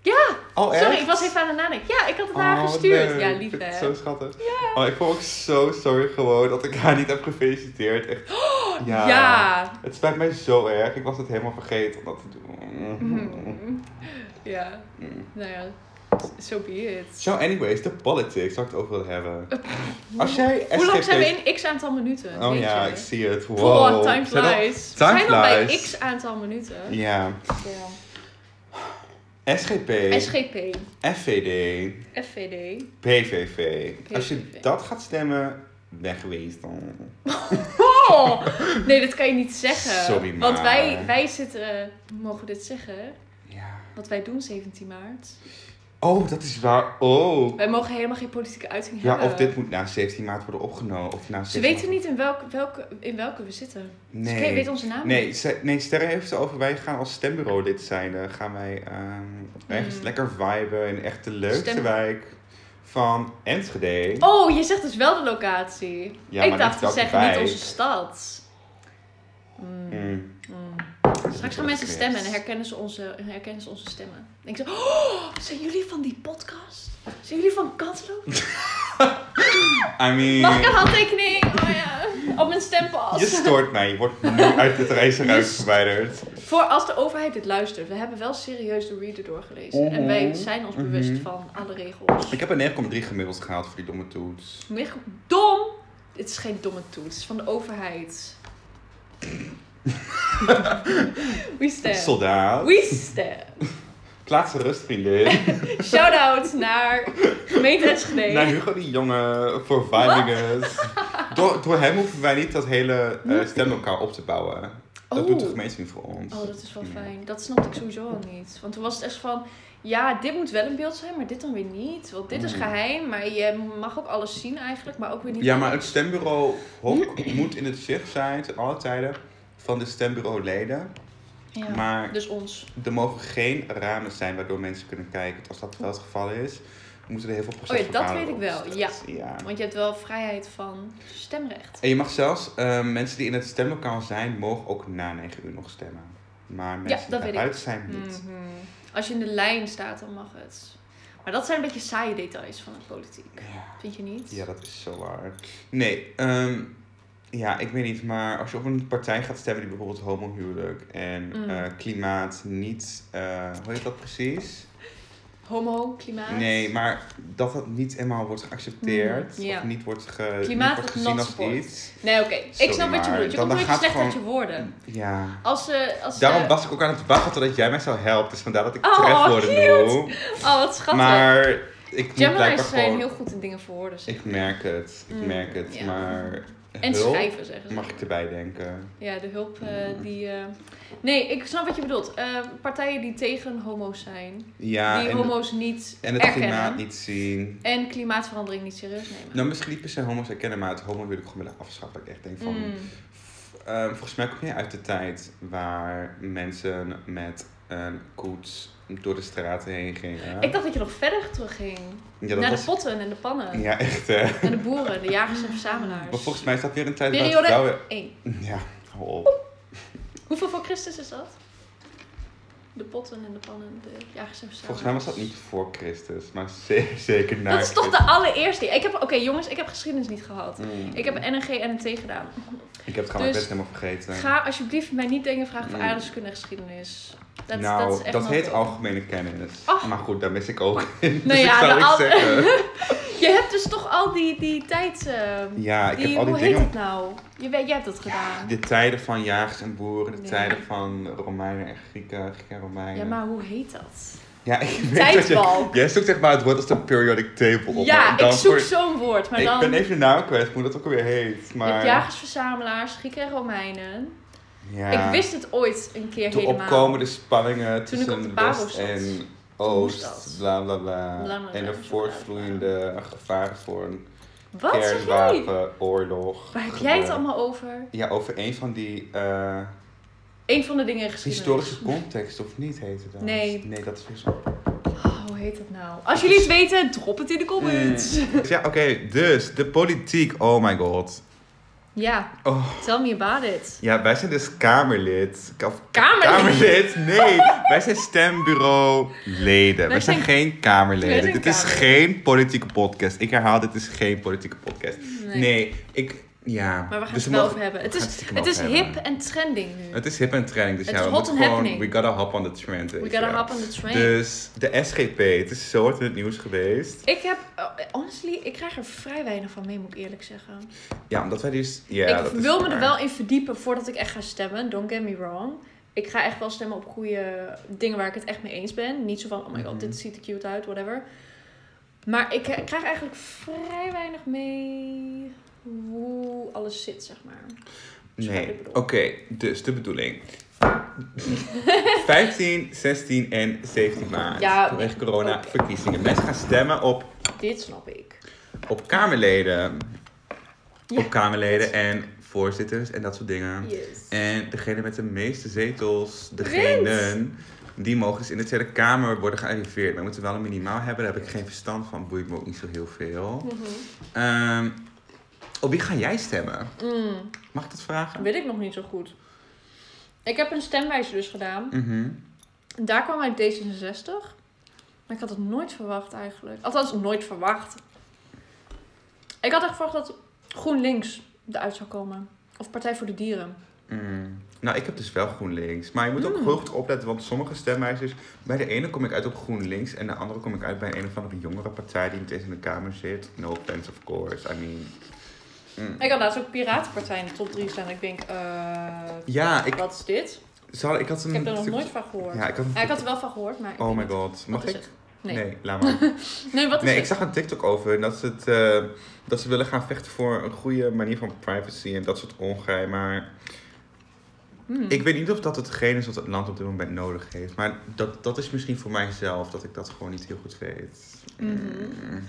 [SPEAKER 1] Ja!
[SPEAKER 2] Oh,
[SPEAKER 1] Sorry,
[SPEAKER 2] echt?
[SPEAKER 1] ik was even aan het nadenken. Ja, ik had het
[SPEAKER 2] Oh,
[SPEAKER 1] naar haar
[SPEAKER 2] wat
[SPEAKER 1] gestuurd.
[SPEAKER 2] leuk.
[SPEAKER 1] Ja,
[SPEAKER 2] Ik
[SPEAKER 1] lief
[SPEAKER 2] vind het
[SPEAKER 1] hè.
[SPEAKER 2] Zo schattig. Oh, ik vond ook zo sorry gewoon dat ik haar niet heb gefeliciteerd. Echt.
[SPEAKER 1] Oh, Ja.
[SPEAKER 2] Het spijt mij zo erg. Ik was het helemaal vergeten om dat te doen.
[SPEAKER 1] Mm. Ja,
[SPEAKER 2] Mm.
[SPEAKER 1] nou ja. So be it.
[SPEAKER 2] Zo, anyways, de politics waar ik het over wil hebben. Als jij
[SPEAKER 1] Eh, Hoe lang
[SPEAKER 2] SGP
[SPEAKER 1] zijn we in x aantal minuten?
[SPEAKER 2] Oh
[SPEAKER 1] Weet
[SPEAKER 2] ja,
[SPEAKER 1] je?
[SPEAKER 2] ik zie het. Wow.
[SPEAKER 1] Wow, time
[SPEAKER 2] We zijn al-
[SPEAKER 1] flies. We
[SPEAKER 2] Time
[SPEAKER 1] zijn al bij
[SPEAKER 2] flies.
[SPEAKER 1] x aantal minuten.
[SPEAKER 2] Ja.
[SPEAKER 1] Ja.
[SPEAKER 2] SGP,
[SPEAKER 1] SGP,
[SPEAKER 2] FVD,
[SPEAKER 1] FVD.
[SPEAKER 2] PVV. Als je
[SPEAKER 1] PVV.
[SPEAKER 2] dat gaat stemmen, wegwees dan.
[SPEAKER 1] Oh! Nee, dat kan je niet zeggen.
[SPEAKER 2] Sorry,
[SPEAKER 1] Want
[SPEAKER 2] maar.
[SPEAKER 1] wij, wij zitten... eh, Mogen we dit zeggen?
[SPEAKER 2] Ja.
[SPEAKER 1] Wat wij doen 17 maart.
[SPEAKER 2] Oh, dat is waar. Oh.
[SPEAKER 1] Wij mogen helemaal geen politieke uiting
[SPEAKER 2] Ja,
[SPEAKER 1] hebben.
[SPEAKER 2] of dit moet na 17 maart worden opgenomen. Of na
[SPEAKER 1] Eh. Ze
[SPEAKER 2] 17
[SPEAKER 1] weten niet in welke, welke, in welke we zitten.
[SPEAKER 2] Nee.
[SPEAKER 1] Ze weten onze naam
[SPEAKER 2] Nee,
[SPEAKER 1] niet.
[SPEAKER 2] ze- nee, Sterre heeft het over, wij gaan als stembureau lid zijn. eh, gaan wij ehm, ergens
[SPEAKER 1] Mm.
[SPEAKER 2] lekker viben in echt de leukste
[SPEAKER 1] Stem-
[SPEAKER 2] wijk van Enschede.
[SPEAKER 1] Oh, je zegt dus wel de locatie.
[SPEAKER 2] Ja,
[SPEAKER 1] ik
[SPEAKER 2] maar
[SPEAKER 1] dacht,
[SPEAKER 2] niet
[SPEAKER 1] ze
[SPEAKER 2] welke
[SPEAKER 1] zeggen
[SPEAKER 2] wijk.
[SPEAKER 1] niet onze stad. Mm,
[SPEAKER 2] Mm.
[SPEAKER 1] mm.
[SPEAKER 2] Dat is
[SPEAKER 1] Straks
[SPEAKER 2] wel
[SPEAKER 1] gaan mensen
[SPEAKER 2] echt
[SPEAKER 1] stemmen en dan
[SPEAKER 2] weird.
[SPEAKER 1] herkennen ze onze, herkennen ze onze stemmen. Dan denken ze, oh, zijn jullie van die podcast? Zijn jullie van Kansloop?
[SPEAKER 2] I
[SPEAKER 1] Mag ik een
[SPEAKER 2] mean,
[SPEAKER 1] handtekening? Oh ja, op mijn stempas.
[SPEAKER 2] je stoort mij. Je wordt nu uit dit reis eruit
[SPEAKER 1] st-
[SPEAKER 2] verwijderd.
[SPEAKER 1] Voor als de overheid dit luistert. We hebben wel serieus de reader doorgelezen. En
[SPEAKER 2] Mhm.
[SPEAKER 1] wij zijn ons
[SPEAKER 2] Mhm.
[SPEAKER 1] bewust van alle regels.
[SPEAKER 2] Ik heb een 9,3 gemiddeld gehaald voor die domme toets.
[SPEAKER 1] Mich- Dom! Dit is geen domme toets. Het is van de overheid. We stand.
[SPEAKER 2] Soldaat.
[SPEAKER 1] We stand.
[SPEAKER 2] Plaats rust, vriendin.
[SPEAKER 1] Shout-out naar gemeente Enschede.
[SPEAKER 2] Naar Hugo die jonge voor vibingus. Door, door hem hoeven wij niet dat hele eh stem elkaar op te bouwen. Dat
[SPEAKER 1] Oh.
[SPEAKER 2] doet de gemeente niet voor ons.
[SPEAKER 1] Oh, dat is wel
[SPEAKER 2] Ja.
[SPEAKER 1] fijn. Dat snapte ik sowieso al niet. Want toen was het echt van... Ja, dit moet wel in beeld zijn, maar dit dan weer niet. Want dit is
[SPEAKER 2] Mm.
[SPEAKER 1] geheim, maar je mag ook alles zien eigenlijk, maar ook weer niet.
[SPEAKER 2] Ja, maar het stembureau hok moet in het zicht zijn ten alle tijden van de stembureau leden.
[SPEAKER 1] Ja,
[SPEAKER 2] Maar
[SPEAKER 1] Dus ons.
[SPEAKER 2] er mogen geen ramen zijn waardoor mensen kunnen kijken. Want als dat wel het geval is, moeten er heel veel
[SPEAKER 1] Oh
[SPEAKER 2] procent
[SPEAKER 1] ja, dat
[SPEAKER 2] vergaderen
[SPEAKER 1] weet ik wel,
[SPEAKER 2] op straat. Dus, ja.
[SPEAKER 1] Want je hebt wel vrijheid van stemrecht.
[SPEAKER 2] En je mag zelfs, eh, mensen die in het stemlokaal zijn, mogen ook na 9 uur nog stemmen. Maar
[SPEAKER 1] dat
[SPEAKER 2] mensen die
[SPEAKER 1] weet
[SPEAKER 2] daaruit zijn niet.
[SPEAKER 1] Mhm. Als je in de lijn staat, dan mag het. Maar dat zijn een beetje saaie details van de politiek.
[SPEAKER 2] Ja.
[SPEAKER 1] Vind je niet?
[SPEAKER 2] Ja, dat is zo waar. Nee, ehm, ja, ik weet niet, maar als je op een partij gaat stemmen die bijvoorbeeld homohuwelijk en
[SPEAKER 1] Mm.
[SPEAKER 2] eh, klimaat niet, eh, hoe heet dat precies?
[SPEAKER 1] Homo, klimaat.
[SPEAKER 2] Nee, maar dat dat niet helemaal wordt geaccepteerd
[SPEAKER 1] Mm, ja.
[SPEAKER 2] of niet wordt, ge, niet
[SPEAKER 1] Klimaat
[SPEAKER 2] wordt
[SPEAKER 1] wordt
[SPEAKER 2] gezien als
[SPEAKER 1] not sport.
[SPEAKER 2] iets.
[SPEAKER 1] Nee, oké. Ik
[SPEAKER 2] Sorry,
[SPEAKER 1] snap wat je
[SPEAKER 2] maar
[SPEAKER 1] bedoelt. Je
[SPEAKER 2] dan-
[SPEAKER 1] komt een beetje
[SPEAKER 2] dan gaat
[SPEAKER 1] slecht uit je
[SPEAKER 2] gewoon-
[SPEAKER 1] woorden.
[SPEAKER 2] Ja.
[SPEAKER 1] Als ze... Als eh, ze-
[SPEAKER 2] Daarom was ik ook aan het wachten totdat jij mij zou helpen, dus vandaar dat ik
[SPEAKER 1] Oh,
[SPEAKER 2] tref worden nu.
[SPEAKER 1] Oh, wat schattig.
[SPEAKER 2] Maar ik moet blijkbaar
[SPEAKER 1] Gemini's zijn
[SPEAKER 2] gewoon...
[SPEAKER 1] heel goed in dingen verwoorden. zeg.
[SPEAKER 2] Ik merk het, ik
[SPEAKER 1] Mm,
[SPEAKER 2] merk het,
[SPEAKER 1] ja.
[SPEAKER 2] maar
[SPEAKER 1] En
[SPEAKER 2] hulp
[SPEAKER 1] schrijven, zeggen ze.
[SPEAKER 2] mag ik erbij denken.
[SPEAKER 1] Ja, de hulp eh, die... eh, Nee, ik snap wat je bedoelt. Eh, partijen die tegen homo's zijn.
[SPEAKER 2] Ja,
[SPEAKER 1] die
[SPEAKER 2] en-
[SPEAKER 1] homo's niet
[SPEAKER 2] En het
[SPEAKER 1] erkennen.
[SPEAKER 2] klimaat niet zien.
[SPEAKER 1] En klimaatverandering niet serieus nemen.
[SPEAKER 2] Nou, misschien niet per se homo's herkennen, maar het homo wil ik gewoon willen afschaffen. Ik echt denk van...
[SPEAKER 1] Mm.
[SPEAKER 2] f- ehm, volgens mij kom je uit de tijd waar mensen met een koets door de straten heen gingen.
[SPEAKER 1] Ik dacht dat je nog verder terug ging.
[SPEAKER 2] ja,
[SPEAKER 1] Naar de Oh,
[SPEAKER 2] was,
[SPEAKER 1] potten en de pannen.
[SPEAKER 2] Ja, echt hè.
[SPEAKER 1] En de boeren, de jagers en verzamelaars.
[SPEAKER 2] Maar volgens mij is dat weer een tijd
[SPEAKER 1] Periode-
[SPEAKER 2] waar vrouwen...
[SPEAKER 1] Eén.
[SPEAKER 2] Ja, hou
[SPEAKER 1] Oh.
[SPEAKER 2] op.
[SPEAKER 1] Hoeveel voor Christus is dat? De potten en de pannen, de jagers en verzamelaars.
[SPEAKER 2] Volgens mij was dat niet voor Christus, maar ze- zeker na
[SPEAKER 1] Dat is toch
[SPEAKER 2] Christus.
[SPEAKER 1] de allereerste. Ik heb, oké jongens, ik heb geschiedenis niet gehad.
[SPEAKER 2] Mm.
[SPEAKER 1] Ik heb NNG en NT gedaan.
[SPEAKER 2] Ik heb het gewoon
[SPEAKER 1] dus-
[SPEAKER 2] best helemaal vergeten.
[SPEAKER 1] Ga alsjeblieft mij niet dingen vragen voor
[SPEAKER 2] Mm.
[SPEAKER 1] aardrijkskunde en geschiedenis. Dat,
[SPEAKER 2] nou,
[SPEAKER 1] dat, is echt not
[SPEAKER 2] heet
[SPEAKER 1] it.
[SPEAKER 2] algemene kennis.
[SPEAKER 1] Oh.
[SPEAKER 2] Maar goed, daar mis ik ook in. Dus
[SPEAKER 1] Nou
[SPEAKER 2] ik
[SPEAKER 1] ja,
[SPEAKER 2] zou
[SPEAKER 1] de
[SPEAKER 2] niks
[SPEAKER 1] al-
[SPEAKER 2] zeggen.
[SPEAKER 1] Je hebt dus toch al die, die tijd... eh,
[SPEAKER 2] Ja, ik
[SPEAKER 1] die,
[SPEAKER 2] heb al die
[SPEAKER 1] hoe
[SPEAKER 2] dingen.
[SPEAKER 1] heet het nou? Je, weet- jij hebt dat gedaan.
[SPEAKER 2] De tijden van jagers en boeren, de
[SPEAKER 1] Nee.
[SPEAKER 2] tijden van Romeinen en Grieken, Grieken en Romeinen.
[SPEAKER 1] Ja, maar hoe heet dat?
[SPEAKER 2] Ja, ik weet dat
[SPEAKER 1] Tijdbalk.
[SPEAKER 2] je... Jij zoekt zeg maar het woord als de periodic table op.
[SPEAKER 1] Ja,
[SPEAKER 2] en dan
[SPEAKER 1] ik zoek
[SPEAKER 2] voor-
[SPEAKER 1] zo'n woord, maar
[SPEAKER 2] ik
[SPEAKER 1] dan...
[SPEAKER 2] ben even de naam kwijt, hoe dat ook alweer heet.
[SPEAKER 1] Je
[SPEAKER 2] Maar...
[SPEAKER 1] hebt jagersverzamelaars, Grieken en Romeinen.
[SPEAKER 2] Ja.
[SPEAKER 1] Ik wist het ooit een keer
[SPEAKER 2] De
[SPEAKER 1] helemaal.
[SPEAKER 2] opkomende spanningen
[SPEAKER 1] Toen ik op de
[SPEAKER 2] tussen
[SPEAKER 1] Pabo
[SPEAKER 2] West
[SPEAKER 1] zat.
[SPEAKER 2] en
[SPEAKER 1] moest dat.
[SPEAKER 2] Oost, bla bla bla.
[SPEAKER 1] Bla, bla, bla,
[SPEAKER 2] En de
[SPEAKER 1] bla, bla.
[SPEAKER 2] voortvloeiende gevaar voor een
[SPEAKER 1] Wat zeg jij?
[SPEAKER 2] kernwapenoorlog.
[SPEAKER 1] Waar heb jij het
[SPEAKER 2] Gebeurde.
[SPEAKER 1] allemaal over?
[SPEAKER 2] Ja, over een van die eh,
[SPEAKER 1] Eén van de dingen in geschiedenis.
[SPEAKER 2] historische context, of niet heette dat?
[SPEAKER 1] Nee.
[SPEAKER 2] Nee, dat is weer zo.
[SPEAKER 1] Oh, hoe heet dat nou? Als jullie het weten, drop het in de comments.
[SPEAKER 2] Ja, oké, dus de politiek. Oh my god.
[SPEAKER 1] Ja,
[SPEAKER 2] Oh.
[SPEAKER 1] tell me about it.
[SPEAKER 2] Ja, wij zijn dus Kamerlid. Of
[SPEAKER 1] Kamerlid?
[SPEAKER 2] Kamerlid? Nee, wij zijn stembureau-leden. Wij
[SPEAKER 1] Wij zijn-
[SPEAKER 2] zijn geen Kamerleden.
[SPEAKER 1] Wij zijn
[SPEAKER 2] dit is
[SPEAKER 1] Kamerlid.
[SPEAKER 2] geen politieke podcast. Ik herhaal, dit is geen politieke podcast. Nee,
[SPEAKER 1] Nee.
[SPEAKER 2] ik... Ja.
[SPEAKER 1] Maar we gaan
[SPEAKER 2] Dus
[SPEAKER 1] het wel
[SPEAKER 2] mogen-
[SPEAKER 1] over hebben. Het
[SPEAKER 2] we gaan
[SPEAKER 1] is,
[SPEAKER 2] stiekem
[SPEAKER 1] het is
[SPEAKER 2] over
[SPEAKER 1] hip
[SPEAKER 2] hebben.
[SPEAKER 1] en trending nu.
[SPEAKER 2] Het is hip en trending. Dus
[SPEAKER 1] Het
[SPEAKER 2] ja,
[SPEAKER 1] is
[SPEAKER 2] we
[SPEAKER 1] hot
[SPEAKER 2] moeten
[SPEAKER 1] and
[SPEAKER 2] gewoon... We
[SPEAKER 1] happening.
[SPEAKER 2] gotta hop on the trend.
[SPEAKER 1] We
[SPEAKER 2] weet je
[SPEAKER 1] gotta
[SPEAKER 2] wel.
[SPEAKER 1] hop on the train.
[SPEAKER 2] Dus de SGP. Het is zo hard in het nieuws geweest.
[SPEAKER 1] Ik heb, oh, honestly, ik krijg er vrij weinig van mee, moet ik eerlijk zeggen.
[SPEAKER 2] Ja, omdat wij dus... Ja,
[SPEAKER 1] ik
[SPEAKER 2] dat is
[SPEAKER 1] wil me er
[SPEAKER 2] waar.
[SPEAKER 1] wel in verdiepen voordat ik echt ga stemmen. Don't get me wrong. Ik ga echt wel stemmen op goede dingen waar ik het echt mee eens ben. Niet zo van, oh my
[SPEAKER 2] Mhm.
[SPEAKER 1] god, dit ziet er cute uit, whatever. Maar ik eh, krijg eigenlijk vrij weinig mee hoe alles zit, zeg maar. Snap je wat
[SPEAKER 2] Nee,
[SPEAKER 1] ik
[SPEAKER 2] oké,
[SPEAKER 1] bedoel?
[SPEAKER 2] dus de bedoeling. 15, 16 en 17 maart.
[SPEAKER 1] Ja,
[SPEAKER 2] vanwege corona
[SPEAKER 1] oké.
[SPEAKER 2] verkiezingen. Mensen gaan stemmen op,
[SPEAKER 1] Dit snap ik.
[SPEAKER 2] op Kamerleden.
[SPEAKER 1] Ja.
[SPEAKER 2] Op Kamerleden en voorzitters en dat soort dingen.
[SPEAKER 1] Yes.
[SPEAKER 2] En degene met de meeste zetels, degenen, die mogen dus in de Tweede Kamer worden gearriveerd. Maar we moeten wel een minimaal hebben, daar heb ik geen verstand van. Boeit me ook niet zo heel veel.
[SPEAKER 1] Mhm.
[SPEAKER 2] Ehm, op wie ga jij stemmen?
[SPEAKER 1] Mm,
[SPEAKER 2] Mag ik dat vragen?
[SPEAKER 1] weet ik nog niet zo goed. Ik heb een stemwijzer dus gedaan.
[SPEAKER 2] Mhm.
[SPEAKER 1] En Daar kwam uit D66. Maar ik had het nooit verwacht eigenlijk. Althans, nooit verwacht. Ik had echt verwacht dat GroenLinks eruit zou komen. Of Partij voor de Dieren.
[SPEAKER 2] Mm. Nou, ik heb dus wel GroenLinks. Maar je moet ook
[SPEAKER 1] Mm.
[SPEAKER 2] heel goed opletten, want sommige stemwijzers... Bij de ene kom ik uit op GroenLinks en de andere kom ik uit bij een of andere jongere partij die niet eens in de Kamer zit. No offense, of course. I mean... mm.
[SPEAKER 1] Ik had laatst ook Piratenpartij in de top 3 staan. Ik denk, eh,
[SPEAKER 2] Ja, ik,
[SPEAKER 1] wat is dit?
[SPEAKER 2] zal, ik had een...
[SPEAKER 1] Ik heb er nog nooit van gehoord.
[SPEAKER 2] Ja, ik had een...
[SPEAKER 1] Ja, ik had er wel van gehoord, maar... ik
[SPEAKER 2] Oh
[SPEAKER 1] weet
[SPEAKER 2] my
[SPEAKER 1] niet.
[SPEAKER 2] god, mag
[SPEAKER 1] Wat is
[SPEAKER 2] ik?
[SPEAKER 1] het? Nee. nee.
[SPEAKER 2] nee, laat maar.
[SPEAKER 1] wat is
[SPEAKER 2] Nee, ik
[SPEAKER 1] het?
[SPEAKER 2] zag een TikTok over en dat ze, het, eh, dat ze willen gaan vechten voor een goede manier van privacy en dat soort ongeheim. Maar
[SPEAKER 1] Hmm.
[SPEAKER 2] ik weet niet of dat hetgeen is wat het land op dit moment nodig heeft. Maar dat, dat is misschien voor mijzelf, dat ik dat gewoon niet heel goed weet. Eh,
[SPEAKER 1] Mhm. I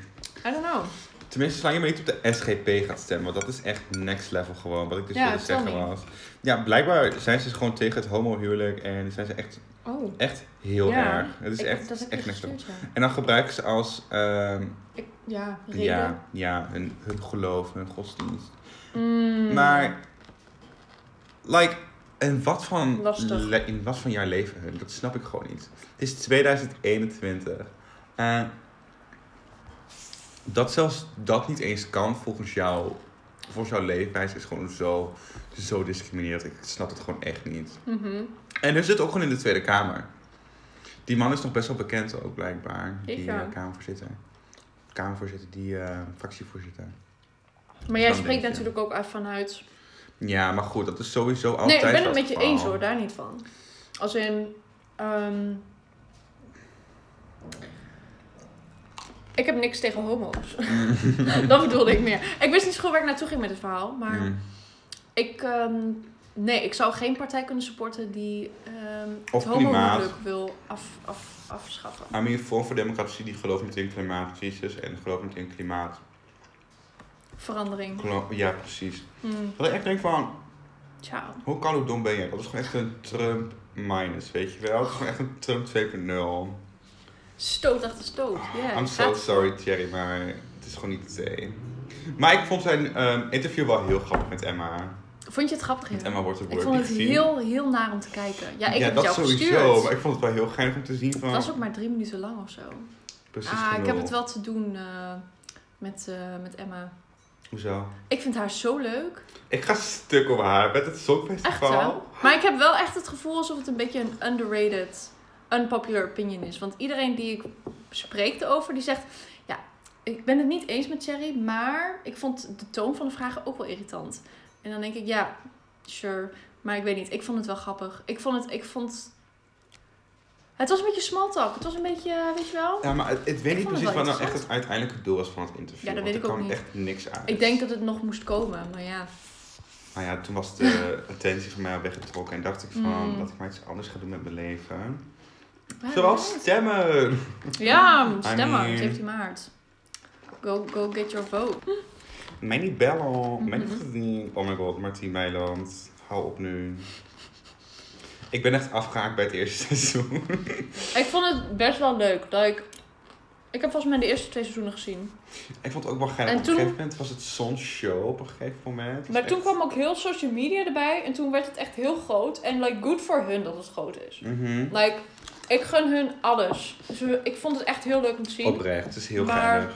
[SPEAKER 1] don't know.
[SPEAKER 2] Tenminste, zolang je maar niet op de SGP gaat stemmen, want dat is echt next level gewoon, wat ik dus
[SPEAKER 1] Ja,
[SPEAKER 2] wilde
[SPEAKER 1] tell
[SPEAKER 2] zeggen
[SPEAKER 1] me.
[SPEAKER 2] was. Ja, blijkbaar zijn ze dus gewoon tegen het homohuwelijk en zijn ze echt,
[SPEAKER 1] Oh.
[SPEAKER 2] echt heel
[SPEAKER 1] Ja,
[SPEAKER 2] erg. Het is
[SPEAKER 1] ik-
[SPEAKER 2] echt,
[SPEAKER 1] dat heb ik
[SPEAKER 2] echt
[SPEAKER 1] je
[SPEAKER 2] next level.
[SPEAKER 1] gestuurd, ja.
[SPEAKER 2] En dan gebruiken ze als, ehm,
[SPEAKER 1] Ik, ja, reden.
[SPEAKER 2] ja, ja hun, hun geloof, hun godsdienst.
[SPEAKER 1] Mm.
[SPEAKER 2] Maar, like, in wat, van
[SPEAKER 1] Lastig.
[SPEAKER 2] le- in wat van jaar leven hun? Dat snap ik gewoon niet. Het is 2021. En dat zelfs dat niet eens kan volgens jou, volgens jouw leefwijze is gewoon zo, zo discriminerend. Ik snap het gewoon echt niet.
[SPEAKER 1] Mhm.
[SPEAKER 2] En er zit ook gewoon in de Tweede Kamer. Die man is nog best wel bekend ook, blijkbaar.
[SPEAKER 1] Ik
[SPEAKER 2] die
[SPEAKER 1] wel.
[SPEAKER 2] eh, Kamervoorzitter. Kamervoorzitter, die eh, fractievoorzitter.
[SPEAKER 1] Maar jij
[SPEAKER 2] Dan denk
[SPEAKER 1] spreekt
[SPEAKER 2] je.
[SPEAKER 1] natuurlijk ook uit vanuit
[SPEAKER 2] Ja, maar goed, dat is sowieso altijd
[SPEAKER 1] Nee, ik ben het
[SPEAKER 2] dat
[SPEAKER 1] met je
[SPEAKER 2] geval.
[SPEAKER 1] eens hoor, daar niet van. Als in. ehm, ik heb niks tegen homo's. dat bedoelde ik meer. Ik wist niet zo goed waar ik naartoe ging met het verhaal. Maar
[SPEAKER 2] Mm.
[SPEAKER 1] ik. ehm, nee, ik zou geen partij kunnen supporten die. ehm
[SPEAKER 2] Of
[SPEAKER 1] het
[SPEAKER 2] klimaat.
[SPEAKER 1] homohuwelijk wil af, af, afschaffen.
[SPEAKER 2] I mean, Vorm voor Democratie die gelooft niet in klimaatcrisis en gelooft niet in klimaat.
[SPEAKER 1] Verandering.
[SPEAKER 2] Gelo- ja, precies.
[SPEAKER 1] Mm,
[SPEAKER 2] Dat ik echt denk van,
[SPEAKER 1] ciao.
[SPEAKER 2] hoe kan hoe dom ben je? Dat is gewoon echt een Trump minus, weet je wel? Het is gewoon echt een Trump 2.0.
[SPEAKER 1] Stoot achter stoot. Yeah,
[SPEAKER 2] Ah, I'm
[SPEAKER 1] het
[SPEAKER 2] so
[SPEAKER 1] gaat-
[SPEAKER 2] sorry Thierry, maar het is gewoon niet het idee. Maar ik vond zijn ehm, interview wel heel grappig met Emma.
[SPEAKER 1] Vond je het grappig?
[SPEAKER 2] Met
[SPEAKER 1] Hero?
[SPEAKER 2] Emma wordt er
[SPEAKER 1] Ik vond het heel, heel naar om te kijken. Ja, ik heb het
[SPEAKER 2] dat
[SPEAKER 1] jou
[SPEAKER 2] sowieso,
[SPEAKER 1] gestuurd.
[SPEAKER 2] maar ik vond het wel heel geinig om te zien
[SPEAKER 1] Het
[SPEAKER 2] van...
[SPEAKER 1] was ook maar drie minuten lang of zo.
[SPEAKER 2] Precies
[SPEAKER 1] Ah, ik heb
[SPEAKER 2] genoeg.
[SPEAKER 1] het wel te doen eh, met, eh, met Emma.
[SPEAKER 2] Hoezo?
[SPEAKER 1] Ik vind haar zo leuk.
[SPEAKER 2] Ik ga stuk op haar met het
[SPEAKER 1] Echt
[SPEAKER 2] Songfestival.
[SPEAKER 1] hè? Maar ik heb wel echt het gevoel alsof het een beetje een underrated, unpopular opinion is. Want iedereen die ik spreek erover, die zegt... Ja, ik ben het niet eens met Thierry, maar ik vond de toon van de vragen ook wel irritant. En dan denk ik, ja, sure. Maar ik weet niet, ik vond het wel grappig. Ik vond het... Ik vond... Het was een beetje small talk. Het was een beetje, eh, weet je wel...
[SPEAKER 2] Ja, maar het, het weet
[SPEAKER 1] Ik
[SPEAKER 2] niet
[SPEAKER 1] vond het
[SPEAKER 2] precies
[SPEAKER 1] wel
[SPEAKER 2] wat nou echt
[SPEAKER 1] interessant.
[SPEAKER 2] het uiteindelijke doel was van het interview.
[SPEAKER 1] Ja, dat
[SPEAKER 2] want
[SPEAKER 1] weet
[SPEAKER 2] er
[SPEAKER 1] ik ook
[SPEAKER 2] kwam
[SPEAKER 1] niet.
[SPEAKER 2] echt niks uit.
[SPEAKER 1] Ik denk dat het nog moest komen, maar ja.
[SPEAKER 2] Maar ja, toen was de attentie van mij al weggetrokken. En dacht ik van,
[SPEAKER 1] Mm. Ah,
[SPEAKER 2] dat ik maar iets anders ga doen met mijn leven.
[SPEAKER 1] Ja,
[SPEAKER 2] Zoals stemmen.
[SPEAKER 1] Ja,
[SPEAKER 2] I
[SPEAKER 1] stemmen,
[SPEAKER 2] mean-
[SPEAKER 1] 17 maart. Go, go get your vote.
[SPEAKER 2] Manny Bello. Manny
[SPEAKER 1] Mhm.
[SPEAKER 2] Verdien. Oh my god, Martien Meiland. Hou op nu. Ik ben echt afgehaakt bij het eerste seizoen.
[SPEAKER 1] Ik vond het best wel leuk. Dat ik, ik heb volgens mij de eerste twee seizoenen gezien.
[SPEAKER 2] Ik vond het ook wel geinig.
[SPEAKER 1] En
[SPEAKER 2] op
[SPEAKER 1] toen-
[SPEAKER 2] een gegeven moment was het zo'n show op een gegeven moment. Het was
[SPEAKER 1] Maar toen
[SPEAKER 2] echt-
[SPEAKER 1] kwam ook heel social media erbij. En toen werd het echt heel groot. En like, good voor hun dat het groot is.
[SPEAKER 2] Mhm.
[SPEAKER 1] Like, ik gun hun alles. Dus we- ik vond het echt heel leuk om te zien.
[SPEAKER 2] Oprecht, het is heel
[SPEAKER 1] Maar-
[SPEAKER 2] geinig.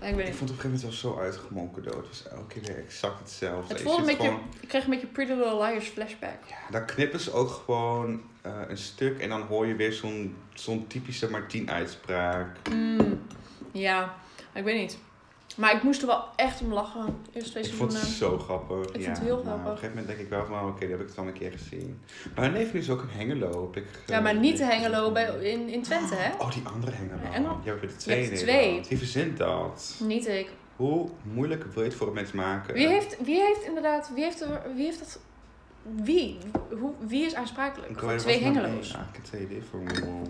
[SPEAKER 1] Maar ik weet
[SPEAKER 2] Ik
[SPEAKER 1] niet.
[SPEAKER 2] vond het op een gegeven moment wel zo uitgemolken dood. Het was elke keer weer exact hetzelfde.
[SPEAKER 1] Het
[SPEAKER 2] Je
[SPEAKER 1] voelde een
[SPEAKER 2] zit
[SPEAKER 1] beetje-
[SPEAKER 2] gewoon-
[SPEAKER 1] Ik kreeg een beetje Pretty Little Liars flashback.
[SPEAKER 2] Ja, dan knippen ze ook gewoon eh, een stuk en dan hoor je weer zo'n zo'n typische Martien-uitspraak.
[SPEAKER 1] Mm, ja, ik weet niet. Maar ik moest er wel echt om lachen. Eerst twee
[SPEAKER 2] Ik vond het
[SPEAKER 1] seizoenen.
[SPEAKER 2] zo grappig.
[SPEAKER 1] vond
[SPEAKER 2] ja,
[SPEAKER 1] het heel
[SPEAKER 2] maar
[SPEAKER 1] grappig.
[SPEAKER 2] Op een gegeven moment denk ik wel van, oh, oké, die heb ik het al een keer gezien. Maar hun heeft nu dus ook een Hengelo. Heb ik,
[SPEAKER 1] Ja,
[SPEAKER 2] eh,
[SPEAKER 1] maar niet de
[SPEAKER 2] gezien.
[SPEAKER 1] Hengelo bij, in, in Twente, hè?
[SPEAKER 2] Oh, die andere Hengelo.
[SPEAKER 1] Ja, Hengelo.
[SPEAKER 2] Je hebt er twee
[SPEAKER 1] Je hebt
[SPEAKER 2] in
[SPEAKER 1] er twee.
[SPEAKER 2] Nederland. Wie verzint dat?
[SPEAKER 1] Niet ik.
[SPEAKER 2] Hoe moeilijk wil je het voor een mens maken?
[SPEAKER 1] Wie heeft, wie heeft inderdaad, wie heeft, er, wie heeft dat, wie? Hoe, wie is aansprakelijk?
[SPEAKER 2] Ik
[SPEAKER 1] Voor
[SPEAKER 2] weet,
[SPEAKER 1] twee
[SPEAKER 2] was maar
[SPEAKER 1] hengelo's.
[SPEAKER 2] één. Ah, ik heb twee different ones.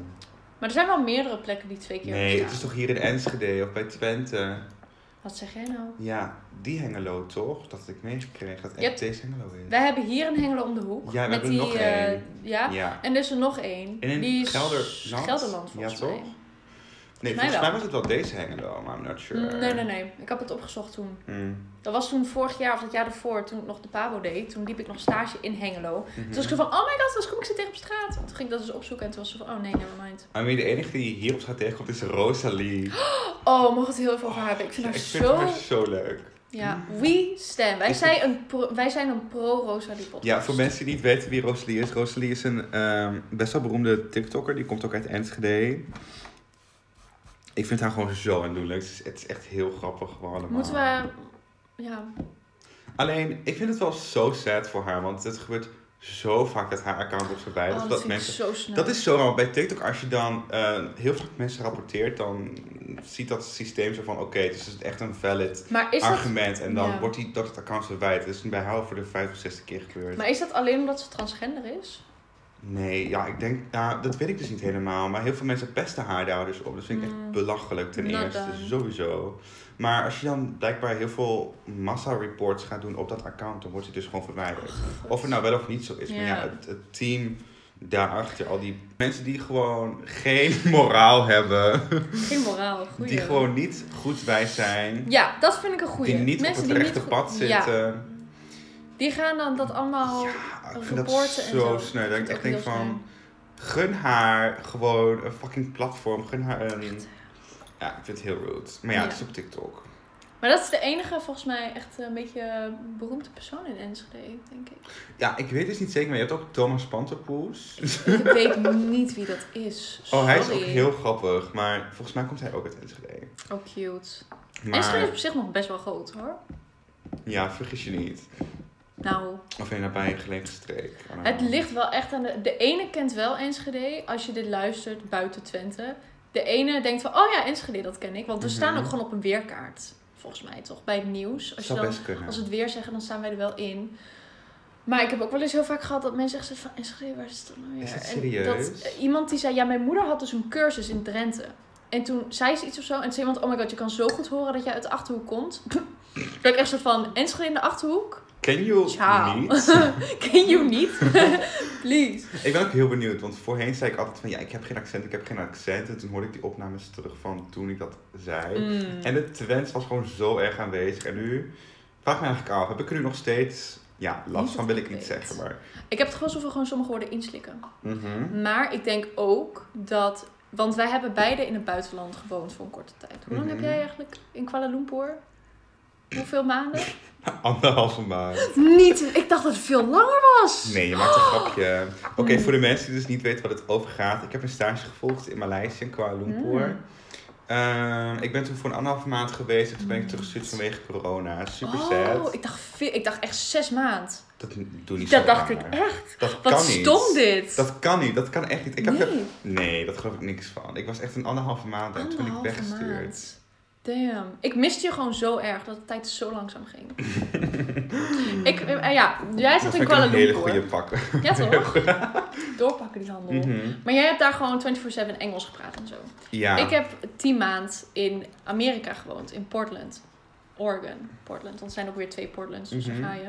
[SPEAKER 1] Maar er zijn wel meerdere plekken die twee keer
[SPEAKER 2] Nee, het
[SPEAKER 1] bestaan.
[SPEAKER 2] is toch hier in Enschede of bij Twente?
[SPEAKER 1] Wat zeg jij nou?
[SPEAKER 2] Ja, die Hengelo toch? Dat had ik meegekregen dat
[SPEAKER 1] Je
[SPEAKER 2] echt deze Hengelo is.
[SPEAKER 1] Wij hebben hier een Hengelo om de hoek.
[SPEAKER 2] Ja, we hebben er nog
[SPEAKER 1] eh,
[SPEAKER 2] één.
[SPEAKER 1] ja.
[SPEAKER 2] Ja.
[SPEAKER 1] En er is er nog één.
[SPEAKER 2] En in
[SPEAKER 1] die is
[SPEAKER 2] Gelderland?
[SPEAKER 1] Gelderland
[SPEAKER 2] Ja,
[SPEAKER 1] volgens
[SPEAKER 2] toch?
[SPEAKER 1] mij.
[SPEAKER 2] Nee,
[SPEAKER 1] Volgens mij wel.
[SPEAKER 2] volgens mij was het wel deze Hengelo, maar I'm not sure.
[SPEAKER 1] Nee, nee, nee. Ik heb het opgezocht toen.
[SPEAKER 2] Mm.
[SPEAKER 1] Dat was toen vorig jaar of het jaar ervoor, toen ik nog de Pabo deed. Toen liep ik nog stage in Hengelo.
[SPEAKER 2] Mhm.
[SPEAKER 1] Toen was ik zo van, oh my god, dan kom ik ze tegen op straat. Toen ging ik dat dus opzoeken en toen was ze van, oh nee, never mind.
[SPEAKER 2] I mean, de enige die je hierop gaat tegenkomt is Rosalie.
[SPEAKER 1] Oh, mag het heel veel over haar hebben. Ik vind
[SPEAKER 2] Ja,
[SPEAKER 1] haar
[SPEAKER 2] ik vind
[SPEAKER 1] zo...
[SPEAKER 2] haar zo leuk.
[SPEAKER 1] Ja, we stem. Wij
[SPEAKER 2] Ik-
[SPEAKER 1] zijn een, pro- wij zijn een pro-Rosalie podcast.
[SPEAKER 2] Ja, voor mensen die niet weten wie Rosalie is. Rosalie is een ehm, best wel beroemde TikToker. Die komt ook uit Enschede. Ik vind haar gewoon zo aandoenlijk. Het is, het is echt heel grappig gewoon allemaal.
[SPEAKER 1] Moeten we... Ja,
[SPEAKER 2] Alleen, ik vind het wel zo sad voor haar. Want het gebeurt zo vaak dat haar account wordt verwijderd.
[SPEAKER 1] oh,
[SPEAKER 2] of
[SPEAKER 1] dat,
[SPEAKER 2] dat
[SPEAKER 1] vind
[SPEAKER 2] mensen...
[SPEAKER 1] ik zo snel.
[SPEAKER 2] Dat is zo raar. want Bij TikTok, als je dan eh, heel vaak mensen rapporteert, dan ziet dat systeem zo van... Oké, dus het is echt een valid
[SPEAKER 1] maar is dat,
[SPEAKER 2] argument. En dan
[SPEAKER 1] Ja.
[SPEAKER 2] wordt die, dat het account verwijderd. Dat is bij haar voor de vijfde of zesde keer gebeurd.
[SPEAKER 1] maar is dat alleen omdat ze transgender is?
[SPEAKER 2] Nee, ja, ik denk, nou, dat weet ik dus niet helemaal. Maar heel veel mensen pesten haar daar dus op. Dat vind ik echt
[SPEAKER 1] Mm.
[SPEAKER 2] belachelijk ten
[SPEAKER 1] Not
[SPEAKER 2] eerste,
[SPEAKER 1] done.
[SPEAKER 2] sowieso. Maar als je dan blijkbaar heel veel massa-reports gaat doen op dat account, dan wordt het dus gewoon verwijderd. Of het nou wel of niet zo is. Maar ja,
[SPEAKER 1] Ja.
[SPEAKER 2] het, het team daarachter, al die mensen die gewoon geen moraal hebben,
[SPEAKER 1] Geen moraal, goeie.
[SPEAKER 2] die gewoon niet goed wijs zijn,
[SPEAKER 1] Ja, dat vind ik een goeie.
[SPEAKER 2] die niet
[SPEAKER 1] mensen
[SPEAKER 2] op
[SPEAKER 1] die
[SPEAKER 2] het rechte
[SPEAKER 1] goed-
[SPEAKER 2] pad
[SPEAKER 1] Ja,
[SPEAKER 2] zitten.
[SPEAKER 1] die gaan dan dat allemaal...
[SPEAKER 2] Ja, Ah, ik vind dat
[SPEAKER 1] reporten en
[SPEAKER 2] zo
[SPEAKER 1] zo.
[SPEAKER 2] sneu. Dat ik
[SPEAKER 1] vind
[SPEAKER 2] echt
[SPEAKER 1] ook
[SPEAKER 2] denk
[SPEAKER 1] heel
[SPEAKER 2] van, gun haar gewoon een fucking platform. Gun haar een...
[SPEAKER 1] Echt.
[SPEAKER 2] Ja, ik vind het heel rude. Maar ja,
[SPEAKER 1] Ja.
[SPEAKER 2] het is op TikTok.
[SPEAKER 1] Maar dat is de enige, volgens mij, echt een beetje beroemde persoon in Enschede, denk ik.
[SPEAKER 2] Ja, ik weet dus niet zeker, maar je hebt ook Thomas Panterpoes.
[SPEAKER 1] Ik weet niet wie dat is.
[SPEAKER 2] Oh, hij is ook
[SPEAKER 1] Sorry.
[SPEAKER 2] heel grappig. Maar volgens mij komt hij ook uit Enschede.
[SPEAKER 1] Oh, cute. Enschede is
[SPEAKER 2] Maar
[SPEAKER 1] op zich nog best wel groot, hoor.
[SPEAKER 2] ja, vergis je niet.
[SPEAKER 1] Nou,
[SPEAKER 2] Of in een nabij gelegen streek. I don't
[SPEAKER 1] het
[SPEAKER 2] know.
[SPEAKER 1] ligt wel echt aan de... De ene kent wel Enschede, als je dit luistert, buiten Twente. De ene denkt van, oh ja, Enschede, dat ken ik. Want we
[SPEAKER 2] Mhm.
[SPEAKER 1] staan ook gewoon op een weerkaart, volgens mij, toch? Bij het nieuws. Als je
[SPEAKER 2] Zou
[SPEAKER 1] dan
[SPEAKER 2] best kunnen.
[SPEAKER 1] Als we het weer zeggen, dan staan wij er wel in. Maar ik heb ook wel eens heel vaak gehad dat mensen echt zeggen van... Enschede, waar is dat nou weer?
[SPEAKER 2] Is dat
[SPEAKER 1] En
[SPEAKER 2] serieus?
[SPEAKER 1] dat, eh, iemand die zei, ja, mijn moeder had dus een cursus in Drenthe. En toen zei ze iets of zo. En toen zei iemand, oh my god, je kan zo goed horen dat jij uit de Achterhoek komt. dat ik echt zo van, Enschede in de Achterhoek?
[SPEAKER 2] Ken je
[SPEAKER 1] Ciao.
[SPEAKER 2] niet?
[SPEAKER 1] Ken je niet? Please.
[SPEAKER 2] Ik ben ook heel benieuwd, want voorheen zei ik altijd van ja, ik heb geen accent, ik heb geen accent. En toen hoorde ik die opnames terug van toen ik dat zei.
[SPEAKER 1] Mm.
[SPEAKER 2] En het Twents was gewoon zo erg aanwezig. En nu, vraag me eigenlijk af, heb ik er nu nog steeds, ja, last
[SPEAKER 1] Niet
[SPEAKER 2] van
[SPEAKER 1] dat
[SPEAKER 2] wil
[SPEAKER 1] ik
[SPEAKER 2] ik niet
[SPEAKER 1] weet.
[SPEAKER 2] zeggen, maar.
[SPEAKER 1] Ik heb het gewoon alsof we gewoon sommige woorden inslikken.
[SPEAKER 2] Mhm.
[SPEAKER 1] Maar ik denk ook dat... Want wij hebben beide in het buitenland gewoond voor een korte tijd. Hoe lang
[SPEAKER 2] Mhm.
[SPEAKER 1] heb jij eigenlijk in Kuala Lumpur? Hoeveel maanden?
[SPEAKER 2] Anderhalve maand.
[SPEAKER 1] Niet. Ik dacht dat het veel langer was.
[SPEAKER 2] Nee, je
[SPEAKER 1] Oh.
[SPEAKER 2] maakt een grapje. Oké,
[SPEAKER 1] Mm.
[SPEAKER 2] voor de mensen die dus niet weten wat het over gaat. Ik heb een stage gevolgd in Maleisië, in Kuala Lumpur.
[SPEAKER 1] Mm.
[SPEAKER 2] Ehm, ik ben toen voor een anderhalve maand geweest en toen ben ik teruggestuurd vanwege corona. Super sad.
[SPEAKER 1] Hmm. Oh, ik dacht, ve- ik dacht echt zes maand.
[SPEAKER 2] Dat doe niet
[SPEAKER 1] Dat
[SPEAKER 2] zo
[SPEAKER 1] dacht ik
[SPEAKER 2] raar.
[SPEAKER 1] echt.
[SPEAKER 2] Dat
[SPEAKER 1] Wat
[SPEAKER 2] kan niet.
[SPEAKER 1] stom dit.
[SPEAKER 2] Dat kan niet, dat kan echt niet. Ik heb
[SPEAKER 1] nee,
[SPEAKER 2] er- nee, dat geloof ik niks van. Ik was echt een anderhalve maand en toen ben ik
[SPEAKER 1] anderhalve
[SPEAKER 2] weggestuurd.
[SPEAKER 1] maand. Damn. Ik miste je gewoon zo erg dat de tijd zo langzaam ging. ik, eh, ja, jij zat
[SPEAKER 2] Dat vind
[SPEAKER 1] in
[SPEAKER 2] ik een
[SPEAKER 1] Kuala
[SPEAKER 2] hele
[SPEAKER 1] Lumpur. Oh.
[SPEAKER 2] goede pakken.
[SPEAKER 1] Ja toch? Doorpakken die handel.
[SPEAKER 2] Mhm.
[SPEAKER 1] Maar jij hebt daar gewoon 24-7 Engels gepraat en zo.
[SPEAKER 2] Ja,
[SPEAKER 1] Ik heb 10 maand in Amerika gewoond, in Portland. Oregon, Portland. Want er zijn ook weer twee Portlands, dus
[SPEAKER 2] Mhm.
[SPEAKER 1] dan ga je.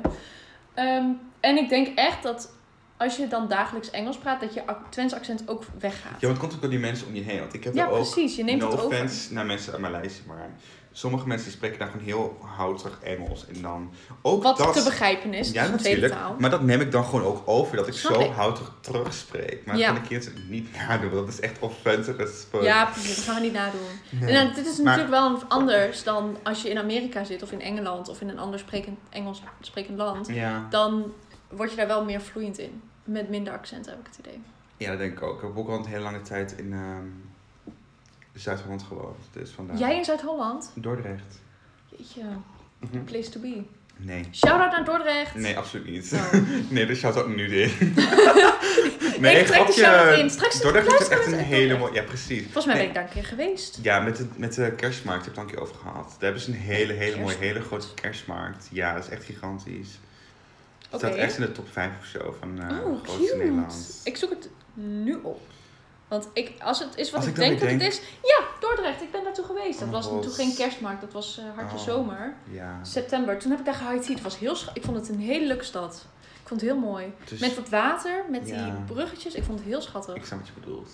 [SPEAKER 1] Ehm, en ik denk echt dat als je dan dagelijks Engels praat, dat je ac- Twents accent ook weggaat.
[SPEAKER 2] Ja, want het komt ook door die mensen om je heen. Want ik heb
[SPEAKER 1] Ja,
[SPEAKER 2] er ook
[SPEAKER 1] precies. Je neemt
[SPEAKER 2] no
[SPEAKER 1] het over.
[SPEAKER 2] offense naar mensen uit mijn lijstje, maar sommige mensen die spreken daar gewoon heel houterig Engels. En dan ook
[SPEAKER 1] Wat
[SPEAKER 2] dat...
[SPEAKER 1] te begrijpen is.
[SPEAKER 2] Ja,
[SPEAKER 1] het is een tweede
[SPEAKER 2] natuurlijk.
[SPEAKER 1] taal.
[SPEAKER 2] Maar dat neem ik dan gewoon ook over, dat ik
[SPEAKER 1] Snap
[SPEAKER 2] zo
[SPEAKER 1] ik.
[SPEAKER 2] houterig terugspreek. Maar
[SPEAKER 1] Ja.
[SPEAKER 2] dat kan ik kind niet nadoen, want dat is echt offensive as fuck.
[SPEAKER 1] Ja, precies. Dat gaan we niet nadoen.
[SPEAKER 2] Nee.
[SPEAKER 1] En dan- dit is
[SPEAKER 2] eh, Maar-
[SPEAKER 1] natuurlijk wel anders dan als je in Amerika zit of in Engeland of in een ander sprekend, Engels sprekend land.
[SPEAKER 2] Ja.
[SPEAKER 1] Dan word je daar wel meer vloeiend in. Met minder accent heb ik het idee.
[SPEAKER 2] ja, dat denk ik ook. Ik heb ook al een hele lange tijd in ehm, Zuid-Holland gewoond. Dus vandaar.
[SPEAKER 1] Jij in Zuid-Holland?
[SPEAKER 2] Dordrecht.
[SPEAKER 1] Jeetje,
[SPEAKER 2] Mhm.
[SPEAKER 1] place to be.
[SPEAKER 2] Nee.
[SPEAKER 1] Shout-out naar Dordrecht!
[SPEAKER 2] Nee, absoluut niet.
[SPEAKER 1] Oh.
[SPEAKER 2] Nee, dus shout ook nu dit.
[SPEAKER 1] Ik trek de shout-out in. Straks
[SPEAKER 2] Dordrecht is
[SPEAKER 1] luisteren
[SPEAKER 2] echt
[SPEAKER 1] we
[SPEAKER 2] een
[SPEAKER 1] het
[SPEAKER 2] hele
[SPEAKER 1] echt.
[SPEAKER 2] mooie... Ja, precies.
[SPEAKER 1] Volgens mij
[SPEAKER 2] Nee.
[SPEAKER 1] ben ik daar een keer geweest.
[SPEAKER 2] Ja, met de, met de kerstmarkt heb ik het al een keer over gehad. Daar hebben ze een hele, hele mooie, hele grote kerstmarkt. Ja, dat is echt gigantisch.
[SPEAKER 1] Oké.
[SPEAKER 2] Staat echt in de top 5 of zo van eh
[SPEAKER 1] oh,
[SPEAKER 2] grootste
[SPEAKER 1] cute.
[SPEAKER 2] Nederland.
[SPEAKER 1] Ik zoek het nu op. Want ik, als het is wat
[SPEAKER 2] Als
[SPEAKER 1] ik,
[SPEAKER 2] ik dan
[SPEAKER 1] denk dat
[SPEAKER 2] weer
[SPEAKER 1] het is... Ja, Dordrecht. Ik ben daartoe geweest. Dat
[SPEAKER 2] Oh mijn
[SPEAKER 1] was
[SPEAKER 2] God.
[SPEAKER 1] toen geen kerstmarkt. Dat was eh, hartje
[SPEAKER 2] Oh.
[SPEAKER 1] zomer.
[SPEAKER 2] Ja.
[SPEAKER 1] September. Toen heb ik daar gehightea. Het was heel... scha- Ik vond het een hele leuke stad. Ik vond het heel mooi.
[SPEAKER 2] Dus
[SPEAKER 1] Met wat water, met
[SPEAKER 2] Ja.
[SPEAKER 1] die bruggetjes. Ik vond het heel schattig.
[SPEAKER 2] ik snap wat je bedoelt.